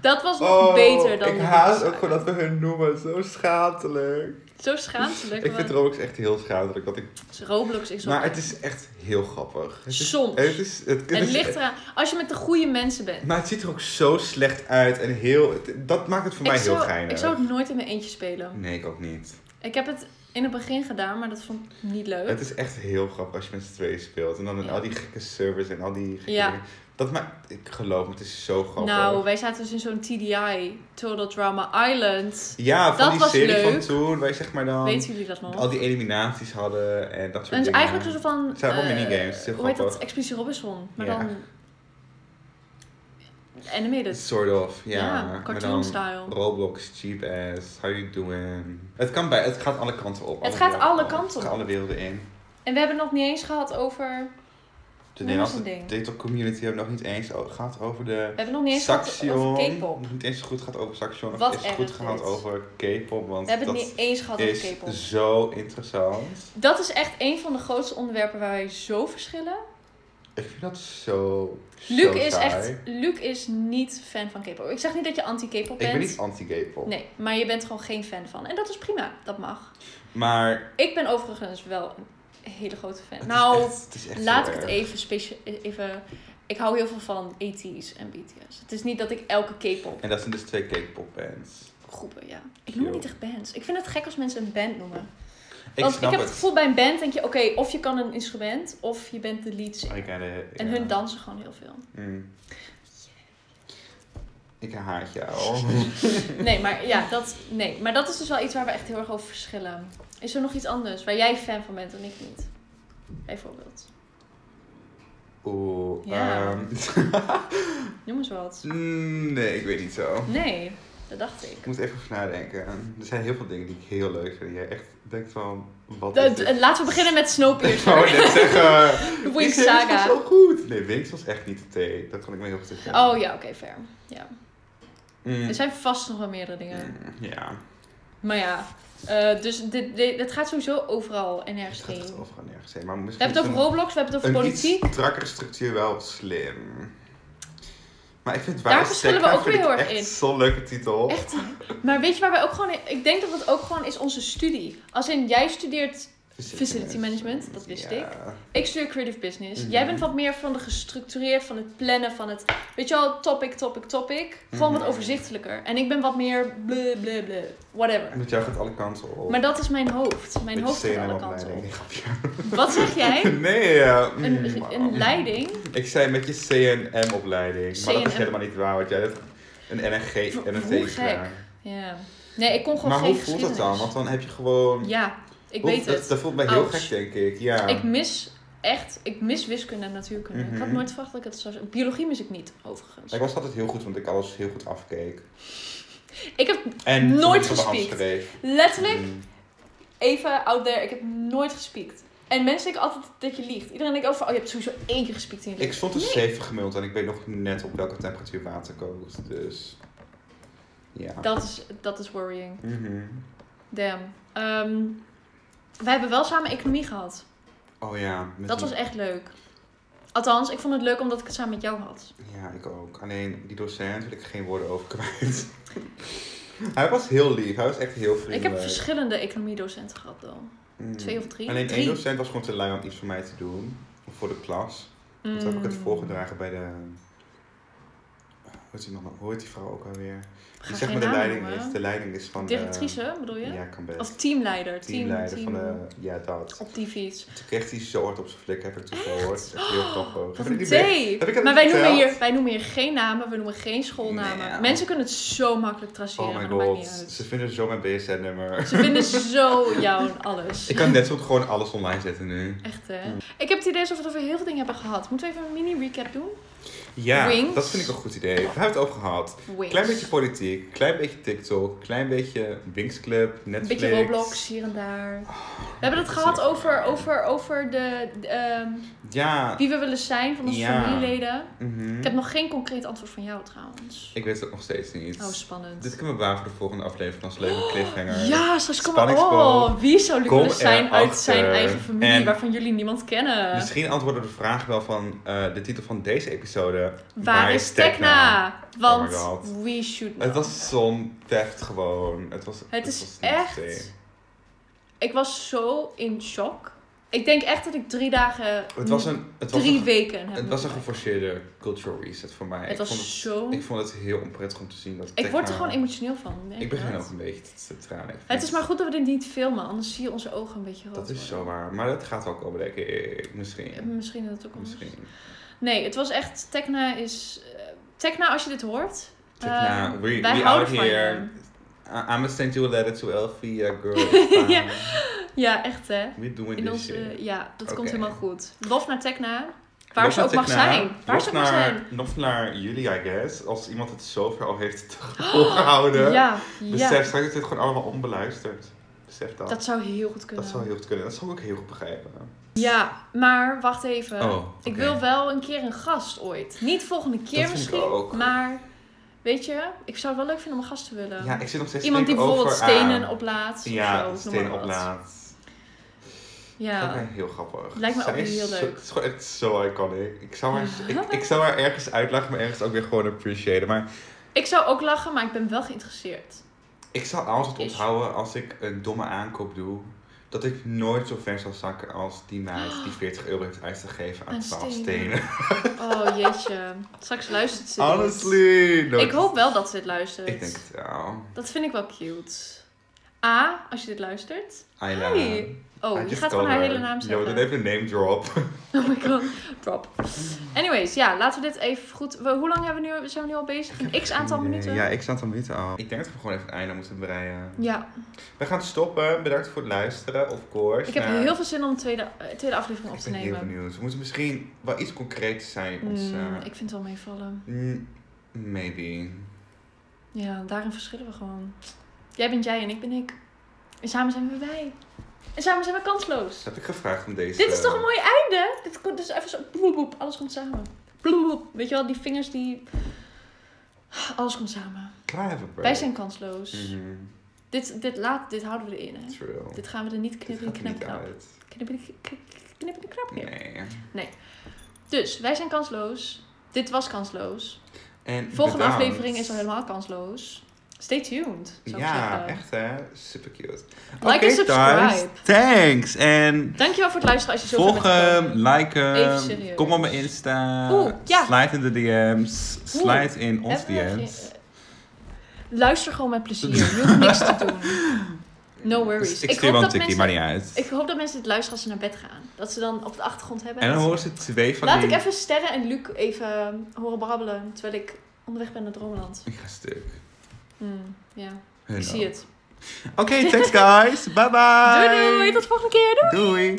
[SPEAKER 1] Dat was nog beter dan
[SPEAKER 2] Oh, ik
[SPEAKER 1] de
[SPEAKER 2] haat
[SPEAKER 1] Roblox
[SPEAKER 2] ook gewoon dat we hun noemen. Zo schatelijk.
[SPEAKER 1] Sphinx. Zo schaamtelijk.
[SPEAKER 2] Ik vind
[SPEAKER 1] maar-
[SPEAKER 2] Roblox echt heel schatelijk. Dat ik...
[SPEAKER 1] Roblox is
[SPEAKER 2] Maar
[SPEAKER 1] wel-
[SPEAKER 2] het is echt heel grappig. Het is,
[SPEAKER 1] Soms.
[SPEAKER 2] Het, is, het, het
[SPEAKER 1] Het
[SPEAKER 2] is-
[SPEAKER 1] ligt eraan. Als je met de goede mensen bent.
[SPEAKER 2] Maar het ziet er ook zo slecht uit. En heel... het- dat maakt het voor mij
[SPEAKER 1] ik,
[SPEAKER 2] heel
[SPEAKER 1] zou,
[SPEAKER 2] geinig.
[SPEAKER 1] ik zou het nooit in mijn eentje spelen.
[SPEAKER 2] Nee, ik ook niet.
[SPEAKER 1] Ik heb het in het begin gedaan, maar dat vond ik niet leuk.
[SPEAKER 2] Het is echt heel grappig als je met z'n tweeën speelt. En dan
[SPEAKER 1] Ja.
[SPEAKER 2] al die gekke servers en al die gekke
[SPEAKER 1] Ja.
[SPEAKER 2] dingen. Dat maakt... Ik geloof me, het is zo grappig.
[SPEAKER 1] nou, wij zaten dus in zo'n TDI, Total Drama Island.
[SPEAKER 2] Ja, van
[SPEAKER 1] Dat
[SPEAKER 2] die
[SPEAKER 1] was
[SPEAKER 2] serie van
[SPEAKER 1] leuk.
[SPEAKER 2] toen, waar je zeg maar dan
[SPEAKER 1] Weten jullie dat nog?
[SPEAKER 2] al die eliminaties hadden
[SPEAKER 1] En
[SPEAKER 2] en dat soort
[SPEAKER 1] het is
[SPEAKER 2] dingen.
[SPEAKER 1] eigenlijk een soort van.
[SPEAKER 2] Het zijn wel
[SPEAKER 1] eh,
[SPEAKER 2] minigames, heel
[SPEAKER 1] Hoe heet dat?
[SPEAKER 2] grappig.
[SPEAKER 1] Expeditie Robinson. Maar
[SPEAKER 2] Ja.
[SPEAKER 1] dan. Animated.
[SPEAKER 2] Sort of, ja.
[SPEAKER 1] Ja,
[SPEAKER 2] maar
[SPEAKER 1] cartoon
[SPEAKER 2] dan
[SPEAKER 1] style.
[SPEAKER 2] Roblox, cheap ass, how you doing? Het, kan bij, het gaat alle kanten op.
[SPEAKER 1] Het gaat
[SPEAKER 2] werelden
[SPEAKER 1] alle
[SPEAKER 2] op,
[SPEAKER 1] kanten
[SPEAKER 2] het gaat
[SPEAKER 1] op.
[SPEAKER 2] alle werelden in.
[SPEAKER 1] En we hebben het nog niet eens gehad over. is
[SPEAKER 2] De Nederlandse
[SPEAKER 1] een ding.
[SPEAKER 2] digital community hebben nog niet eens o- gehad over de
[SPEAKER 1] We hebben nog niet eens gehad
[SPEAKER 2] Saxion.
[SPEAKER 1] over K-pop.
[SPEAKER 2] Niet eens goed gehad over Saxion. of
[SPEAKER 1] Wat
[SPEAKER 2] is het goed
[SPEAKER 1] erg
[SPEAKER 2] gehad
[SPEAKER 1] dit.
[SPEAKER 2] over K-pop, want
[SPEAKER 1] We hebben het
[SPEAKER 2] dat
[SPEAKER 1] niet eens gehad over K-pop.
[SPEAKER 2] is zo interessant.
[SPEAKER 1] Dat is echt een van de grootste onderwerpen waar wij zo verschillen.
[SPEAKER 2] Ik vind dat zo.
[SPEAKER 1] Luc
[SPEAKER 2] zo
[SPEAKER 1] is
[SPEAKER 2] saai.
[SPEAKER 1] echt. Luc is niet fan van K-pop. Ik zeg niet dat je anti-K-pop
[SPEAKER 2] Ik
[SPEAKER 1] bent.
[SPEAKER 2] ben niet anti-K-pop.
[SPEAKER 1] Nee, maar je bent gewoon geen fan van. En dat is prima, dat mag.
[SPEAKER 2] Maar
[SPEAKER 1] Ik ben overigens wel een hele grote fan.
[SPEAKER 2] het
[SPEAKER 1] nou,
[SPEAKER 2] is echt, het is echt
[SPEAKER 1] Laat
[SPEAKER 2] zo
[SPEAKER 1] ik het
[SPEAKER 2] erg.
[SPEAKER 1] even speciaal. e- Even, ik hou heel veel van AT's en BTS. Het is niet dat ik elke K-pop
[SPEAKER 2] En dat zijn dus twee K-pop bands.
[SPEAKER 1] groepen, ja. Ik noem
[SPEAKER 2] Yo.
[SPEAKER 1] niet echt bands. Ik vind het gek als mensen een band noemen.
[SPEAKER 2] Ik
[SPEAKER 1] Want ik
[SPEAKER 2] snap
[SPEAKER 1] heb het
[SPEAKER 2] het.
[SPEAKER 1] gevoel bij een band denk je, oké, of je kan een instrument of
[SPEAKER 2] Oh,
[SPEAKER 1] je bent de lead singer.
[SPEAKER 2] I get it,
[SPEAKER 1] En
[SPEAKER 2] ja.
[SPEAKER 1] hun dansen gewoon heel veel.
[SPEAKER 2] Mm. Ik haat jou.
[SPEAKER 1] Nee maar, ja, dat, nee, maar dat is dus wel iets waar we echt heel erg over verschillen. Is er nog iets anders waar jij fan van bent en ik niet? Bijvoorbeeld.
[SPEAKER 2] Oeh.
[SPEAKER 1] Ja.
[SPEAKER 2] ehm,
[SPEAKER 1] Noem eens wat.
[SPEAKER 2] mm, nee, ik weet niet zo.
[SPEAKER 1] Nee, dat dacht ik.
[SPEAKER 2] Ik moet even over nadenken. Er zijn heel veel dingen die ik heel leuk vind. Jij echt denkt van, wat
[SPEAKER 1] De-
[SPEAKER 2] is
[SPEAKER 1] de-
[SPEAKER 2] dit?
[SPEAKER 1] laten we beginnen met
[SPEAKER 2] Ik wou
[SPEAKER 1] Snowpiercer.
[SPEAKER 2] net zeggen.
[SPEAKER 1] De
[SPEAKER 2] die
[SPEAKER 1] Wings
[SPEAKER 2] serie was
[SPEAKER 1] Saga.
[SPEAKER 2] zo goed. Nee, Wings was echt niet de thee. Dat kan ik me heel goed zeggen.
[SPEAKER 1] Oh ja, oké, fair. Ja.
[SPEAKER 2] Mm,
[SPEAKER 1] Er zijn vast nog wel meerdere dingen.
[SPEAKER 2] mm, ja.
[SPEAKER 1] Maar ja, eh, dus dit, dit, dit gaat sowieso overal en
[SPEAKER 2] Het
[SPEAKER 1] ergens
[SPEAKER 2] gaat
[SPEAKER 1] heen.
[SPEAKER 2] echt overal nergens heen. Maar
[SPEAKER 1] We
[SPEAKER 2] misschien
[SPEAKER 1] hebben het over
[SPEAKER 2] is
[SPEAKER 1] Roblox, we hebben het
[SPEAKER 2] een,
[SPEAKER 1] over
[SPEAKER 2] een iets
[SPEAKER 1] politiek.
[SPEAKER 2] strakkere structuur wel slim. Maar ik vind
[SPEAKER 1] Daar
[SPEAKER 2] waar
[SPEAKER 1] verschillen we ook weer heel erg in.
[SPEAKER 2] Zo'n leuke titel.
[SPEAKER 1] Echt. Maar weet je waar wij ook gewoon... in- Ik denk dat dat ook gewoon is onze studie. Als in, jij studeert... Facility management, dat wist Ik studeer creative business.
[SPEAKER 2] Mhm.
[SPEAKER 1] Jij bent wat meer van de gestructureerd, van het plannen, van het... Weet je wel, topic, topic, topic. Gewoon
[SPEAKER 2] Mhm.
[SPEAKER 1] wat overzichtelijker. En ik ben wat meer bleh, bleh, bleh. Whatever.
[SPEAKER 2] Met jou gaat alle kanten op.
[SPEAKER 1] Maar dat is mijn hoofd. Mijn hoofd gaat alle kanten op.
[SPEAKER 2] opleiding.
[SPEAKER 1] Wat zeg jij?
[SPEAKER 2] Nee, ja. mm,
[SPEAKER 1] Een, een leiding?
[SPEAKER 2] Ik zei met je CNM-opleiding. Maar dat is
[SPEAKER 1] CNM.
[SPEAKER 2] helemaal niet waar, want jij hebt een NNG en
[SPEAKER 1] Hoe
[SPEAKER 2] een
[SPEAKER 1] gek. Ja. Nee, ik kon gewoon
[SPEAKER 2] Maar
[SPEAKER 1] geen
[SPEAKER 2] hoe voelt dat dan?
[SPEAKER 1] geschiedenis.
[SPEAKER 2] Want dan heb je gewoon...
[SPEAKER 1] Ja, ik
[SPEAKER 2] Hoe-
[SPEAKER 1] weet
[SPEAKER 2] dat,
[SPEAKER 1] het.
[SPEAKER 2] Dat voelt mij heel
[SPEAKER 1] Ouch.
[SPEAKER 2] gek, denk ik. Ja.
[SPEAKER 1] Ik mis echt, ik mis wiskunde en natuurkunde. Ik had
[SPEAKER 2] Mhm.
[SPEAKER 1] nooit verwacht dat ik het zou zijn. Biologie mis ik niet, overigens.
[SPEAKER 2] Ik was altijd heel goed, want ik alles heel goed afkeek.
[SPEAKER 1] Ik heb
[SPEAKER 2] En
[SPEAKER 1] Nooit
[SPEAKER 2] soms op de hand
[SPEAKER 1] gespiekt.
[SPEAKER 2] schreef.
[SPEAKER 1] letterlijk,
[SPEAKER 2] Mm.
[SPEAKER 1] even out there, ik heb nooit gespiekt. En mensen denken altijd dat je liegt. Iedereen denkt over, oh je hebt sowieso één keer gespiekt in je
[SPEAKER 2] Ik
[SPEAKER 1] leven.
[SPEAKER 2] stond een 7 gemiddeld en ik weet nog net op welke temperatuur water kookt. Dus... Ja.
[SPEAKER 1] Dat is, dat is worrying.
[SPEAKER 2] Mhm.
[SPEAKER 1] Damn. Ehm, wij hebben wel samen economie gehad.
[SPEAKER 2] Oh ja. met
[SPEAKER 1] Dat
[SPEAKER 2] die-
[SPEAKER 1] was echt leuk. Althans, ik vond het leuk omdat ik het samen met jou had.
[SPEAKER 2] Ja, ik ook. Alleen die docent wil ik geen woorden over kwijt. hij was heel lief. Hij was echt heel vriendelijk.
[SPEAKER 1] Ik heb verschillende economiedocenten gehad dan.
[SPEAKER 2] Mm.
[SPEAKER 1] Twee of drie.
[SPEAKER 2] Alleen één
[SPEAKER 1] Drie.
[SPEAKER 2] docent was gewoon te lui om iets voor mij te doen. Of voor de klas. Dat heb ik het
[SPEAKER 1] Mm.
[SPEAKER 2] voorgedragen bij de... Hoe heet die, mama? Hoe heet die vrouw ook alweer?
[SPEAKER 1] Ga
[SPEAKER 2] Die zeg
[SPEAKER 1] geen
[SPEAKER 2] maar de
[SPEAKER 1] namen
[SPEAKER 2] leiding
[SPEAKER 1] noemen.
[SPEAKER 2] is. De leiding is van... de-
[SPEAKER 1] Directrice bedoel je?
[SPEAKER 2] Ja, kan best.
[SPEAKER 1] Of teamleider. Team,
[SPEAKER 2] Teamleider
[SPEAKER 1] team-
[SPEAKER 2] van eh, de... Ja, dat.
[SPEAKER 1] Op die fiets.
[SPEAKER 2] Toen kreeg hij zo hard op zijn flik, heb ik toen gehoord. Dat is heel grappig.
[SPEAKER 1] Wat
[SPEAKER 2] Heb ik
[SPEAKER 1] een
[SPEAKER 2] niet meer-
[SPEAKER 1] thee.
[SPEAKER 2] Heb ik het
[SPEAKER 1] Maar wij
[SPEAKER 2] niet
[SPEAKER 1] noemen,
[SPEAKER 2] verteld?
[SPEAKER 1] hier, wij noemen hier geen namen, we noemen geen schoolnamen.
[SPEAKER 2] Nee.
[SPEAKER 1] Mensen kunnen het zo makkelijk traceren,
[SPEAKER 2] Oh my
[SPEAKER 1] maar dat maakt
[SPEAKER 2] god.
[SPEAKER 1] niet
[SPEAKER 2] Ze
[SPEAKER 1] uit.
[SPEAKER 2] vinden zo mijn BSN-nummer.
[SPEAKER 1] Ze vinden zo jou en alles.
[SPEAKER 2] Ik kan net zo goed gewoon alles online zetten nu.
[SPEAKER 1] Echt hè?
[SPEAKER 2] Mm.
[SPEAKER 1] Ik heb het idee alsof we het over heel veel dingen hebben gehad. Moeten we even een mini-recap doen?
[SPEAKER 2] Ja,
[SPEAKER 1] Wings.
[SPEAKER 2] dat vind ik een goed idee. We hebben het over gehad.
[SPEAKER 1] Wings.
[SPEAKER 2] Klein beetje politiek, klein beetje TikTok, klein beetje Wings Club,
[SPEAKER 1] Een
[SPEAKER 2] Netflix. Oh,
[SPEAKER 1] beetje Roblox hier en daar. We hebben het
[SPEAKER 2] dat is
[SPEAKER 1] gehad
[SPEAKER 2] zo
[SPEAKER 1] over,
[SPEAKER 2] fijn.
[SPEAKER 1] over, over de, de, ehm,
[SPEAKER 2] Ja.
[SPEAKER 1] wie we willen zijn van onze
[SPEAKER 2] Ja.
[SPEAKER 1] familieleden.
[SPEAKER 2] mhm.
[SPEAKER 1] Ik heb nog geen concreet antwoord van jou trouwens.
[SPEAKER 2] Ik weet het nog steeds niet.
[SPEAKER 1] Oh, spannend.
[SPEAKER 2] Dit kunnen we waar voor de volgende aflevering als leuke cliffhanger.
[SPEAKER 1] Ja, straks kom maar
[SPEAKER 2] Spanningsboog.
[SPEAKER 1] Oh, wie zou
[SPEAKER 2] Kom
[SPEAKER 1] Lucullus zijn uit
[SPEAKER 2] erachter.
[SPEAKER 1] zijn eigen familie
[SPEAKER 2] En- Dus
[SPEAKER 1] waarvan jullie niemand kennen?
[SPEAKER 2] Misschien antwoorden we de vraag wel van eh, de titel van deze episode.
[SPEAKER 1] Waar is Tekna? Want
[SPEAKER 2] Oh my god.
[SPEAKER 1] we should know.
[SPEAKER 2] Het was zo'n theft gewoon. Het, was,
[SPEAKER 1] Het is
[SPEAKER 2] was niet
[SPEAKER 1] echt...
[SPEAKER 2] oké.
[SPEAKER 1] Ik was zo in shock. Ik denk echt dat ik drie dagen...
[SPEAKER 2] Het was een, het was
[SPEAKER 1] drie
[SPEAKER 2] een,
[SPEAKER 1] weken heb
[SPEAKER 2] het was
[SPEAKER 1] moeten
[SPEAKER 2] een
[SPEAKER 1] kijken.
[SPEAKER 2] geforceerde cultural reset voor mij.
[SPEAKER 1] Het
[SPEAKER 2] Ik vond het-
[SPEAKER 1] was zo...
[SPEAKER 2] Ik vond het heel onprettig om te zien dat
[SPEAKER 1] Ik word er
[SPEAKER 2] Tekna-
[SPEAKER 1] gewoon emotioneel van. merk
[SPEAKER 2] Ik
[SPEAKER 1] je
[SPEAKER 2] begin
[SPEAKER 1] dat?
[SPEAKER 2] ook een beetje te tranen. Ik vind
[SPEAKER 1] Het is maar goed dat we dit niet filmen, anders zie je onze ogen een beetje rood
[SPEAKER 2] Dat is zo
[SPEAKER 1] worden.
[SPEAKER 2] waar. Maar dat gaat wel komen, denk ik. Misschien.
[SPEAKER 1] Misschien dat het ook anders.
[SPEAKER 2] Misschien.
[SPEAKER 1] Nee, het was echt... Tekna is... eh, Tekna, als je dit hoort...
[SPEAKER 2] Tekna,
[SPEAKER 1] eh,
[SPEAKER 2] we,
[SPEAKER 1] wij
[SPEAKER 2] we out
[SPEAKER 1] houden van
[SPEAKER 2] here.
[SPEAKER 1] je.
[SPEAKER 2] I- I'ma send you a letter to Elfie, yeah, girl.
[SPEAKER 1] Ja.
[SPEAKER 2] ja.
[SPEAKER 1] Ja, echt hè.
[SPEAKER 2] We doing
[SPEAKER 1] In
[SPEAKER 2] this
[SPEAKER 1] onze,
[SPEAKER 2] shit.
[SPEAKER 1] ja, dat komt
[SPEAKER 2] Oké.
[SPEAKER 1] helemaal goed. Lof naar Tekna. Waar
[SPEAKER 2] Nog
[SPEAKER 1] ze ook
[SPEAKER 2] naar
[SPEAKER 1] mag
[SPEAKER 2] Tekna,
[SPEAKER 1] zijn. Waar
[SPEAKER 2] nog
[SPEAKER 1] ze ook mag
[SPEAKER 2] naar-
[SPEAKER 1] zijn.
[SPEAKER 2] Nog naar jullie, I guess. Als iemand het zover al heeft volgehouden.
[SPEAKER 1] Ja,
[SPEAKER 2] Besef
[SPEAKER 1] ja.
[SPEAKER 2] straks Dus dat dit gewoon allemaal onbeluisterd. Besef dat.
[SPEAKER 1] Dat zou heel goed kunnen.
[SPEAKER 2] Dat zou heel goed kunnen. Dat zou ik ook heel goed begrijpen.
[SPEAKER 1] Ja, maar wacht even.
[SPEAKER 2] Oh, oké.
[SPEAKER 1] Eh, Ik wil wel een keer een gast ooit. Niet volgende keer
[SPEAKER 2] vind ik
[SPEAKER 1] misschien,
[SPEAKER 2] ook.
[SPEAKER 1] maar weet je, ik zou het wel leuk vinden om een gast te willen.
[SPEAKER 2] Ja, ik zit nog steeds te
[SPEAKER 1] eh, Iemand die
[SPEAKER 2] denken
[SPEAKER 1] bijvoorbeeld
[SPEAKER 2] over aan-
[SPEAKER 1] stenen oplaat.
[SPEAKER 2] Ja,
[SPEAKER 1] of zo, noem
[SPEAKER 2] stenen
[SPEAKER 1] maar wat.
[SPEAKER 2] oplaat.
[SPEAKER 1] Ja.
[SPEAKER 2] Dat lijkt mij heel grappig.
[SPEAKER 1] Lijkt me
[SPEAKER 2] Zij
[SPEAKER 1] ook
[SPEAKER 2] is
[SPEAKER 1] heel
[SPEAKER 2] zo-
[SPEAKER 1] leuk.
[SPEAKER 2] Het is gewoon echt zo iconic. Ik zou haar, ik, ik zou haar ergens uitlachen, maar ergens ook weer gewoon appreciëren. Maar
[SPEAKER 1] Ik zou ook lachen, maar ik ben wel geïnteresseerd.
[SPEAKER 2] ik zal altijd
[SPEAKER 1] Is-
[SPEAKER 2] onthouden als ik een domme aankoop doe. Dat ik nooit zo ver zal zakken als die meid die 40 euro heeft uitgegeven aan
[SPEAKER 1] Aan
[SPEAKER 2] 12
[SPEAKER 1] stenen.
[SPEAKER 2] stenen.
[SPEAKER 1] Oh jeetje. Straks luistert ze dit.
[SPEAKER 2] Honestly. no,
[SPEAKER 1] Ik hoop wel dat ze dit luistert.
[SPEAKER 2] Ik denk het wel.
[SPEAKER 1] Dat vind ik wel cute. A, als je dit luistert.
[SPEAKER 2] Ayla.
[SPEAKER 1] Hi.
[SPEAKER 2] I
[SPEAKER 1] Oh, je
[SPEAKER 2] just
[SPEAKER 1] gaat gewoon
[SPEAKER 2] told
[SPEAKER 1] haar
[SPEAKER 2] her.
[SPEAKER 1] hele naam
[SPEAKER 2] Ja,
[SPEAKER 1] zeggen.
[SPEAKER 2] want dan even een name drop.
[SPEAKER 1] Oh my god, drop. Anyways, ja, laten we dit even goed... we- hoe lang hebben we nu, zijn we nu al bezig? Een x-aantal
[SPEAKER 2] Nee,
[SPEAKER 1] minuten?
[SPEAKER 2] Ja, ik sta aan minuten al. Ik denk dat we gewoon even een einde moeten breien.
[SPEAKER 1] Ja,
[SPEAKER 2] We gaan stoppen. Bedankt voor het luisteren, of course.
[SPEAKER 1] ik heb
[SPEAKER 2] Nou,
[SPEAKER 1] heel veel zin om de tweede, eh, tweede aflevering op
[SPEAKER 2] ik
[SPEAKER 1] te
[SPEAKER 2] ben heel
[SPEAKER 1] nemen.
[SPEAKER 2] benieuwd. We moeten misschien wel iets concreets zijn. Ons,
[SPEAKER 1] Mm,
[SPEAKER 2] eh,
[SPEAKER 1] ik vind het wel meevallen.
[SPEAKER 2] mm, maybe.
[SPEAKER 1] Ja, daarin verschillen we gewoon. Jij bent jij en ik ben ik. En samen zijn we wij. En samen zijn we kansloos.
[SPEAKER 2] Dat heb ik gevraagd om deze...
[SPEAKER 1] Dit is toch een mooi einde? Dit komt dus even zo... Bloep, bloep, alles komt samen. Bloep, bloep. Weet je wel, die vingers die... Alles komt samen.
[SPEAKER 2] Can I have a break?
[SPEAKER 1] Wij zijn kansloos.
[SPEAKER 2] Mhm,
[SPEAKER 1] Dit, dit, laat, dit houden we erin, hè?
[SPEAKER 2] True.
[SPEAKER 1] Dit gaan we er niet
[SPEAKER 2] Dit
[SPEAKER 1] knippen,
[SPEAKER 2] gaat er
[SPEAKER 1] knippen,
[SPEAKER 2] niet
[SPEAKER 1] knap.
[SPEAKER 2] uit.
[SPEAKER 1] Knippen, knippen, knap. meer.
[SPEAKER 2] Nee.
[SPEAKER 1] Dus, wij zijn kansloos. Dit was kansloos.
[SPEAKER 2] En
[SPEAKER 1] Volgende
[SPEAKER 2] bedankt.
[SPEAKER 1] aflevering is al helemaal kansloos. Stay tuned, zou ik
[SPEAKER 2] Ja,
[SPEAKER 1] zeggen.
[SPEAKER 2] echt hè. Super cute.
[SPEAKER 1] Like en subscribe.
[SPEAKER 2] thanks. En
[SPEAKER 1] Dankjewel voor het luisteren als je zo
[SPEAKER 2] Volg
[SPEAKER 1] ver bent
[SPEAKER 2] hem,
[SPEAKER 1] gekomen.
[SPEAKER 2] like
[SPEAKER 1] Even
[SPEAKER 2] hem,
[SPEAKER 1] serieus.
[SPEAKER 2] kom op mijn Insta,
[SPEAKER 1] Oeh, ja.
[SPEAKER 2] slide in de DM's, slide in ons
[SPEAKER 1] Hebben we
[SPEAKER 2] DM's.
[SPEAKER 1] geen- eh, Luister gewoon met plezier. Je hoeft niks te doen. No worries.
[SPEAKER 2] Dus ik
[SPEAKER 1] Ik
[SPEAKER 2] stuur
[SPEAKER 1] hoop
[SPEAKER 2] wel een
[SPEAKER 1] dat
[SPEAKER 2] tikkie,
[SPEAKER 1] mensen-
[SPEAKER 2] maar niet uit.
[SPEAKER 1] Ik hoop dat mensen dit luisteren als ze naar bed gaan. Dat ze dan op de achtergrond hebben.
[SPEAKER 2] en dan
[SPEAKER 1] dat ze-
[SPEAKER 2] horen ze twee van
[SPEAKER 1] Laat
[SPEAKER 2] die...
[SPEAKER 1] ik even Sterren en Luc even eh, horen babbelen terwijl ik onderweg ben naar Droomland.
[SPEAKER 2] Ik ga stuk.
[SPEAKER 1] Hmm, ja,
[SPEAKER 2] Hun
[SPEAKER 1] ik
[SPEAKER 2] ook.
[SPEAKER 1] zie het.
[SPEAKER 2] Oké, thanks guys. Bye bye.
[SPEAKER 1] Doei doei, tot volgende keer. Doei.
[SPEAKER 2] Doei.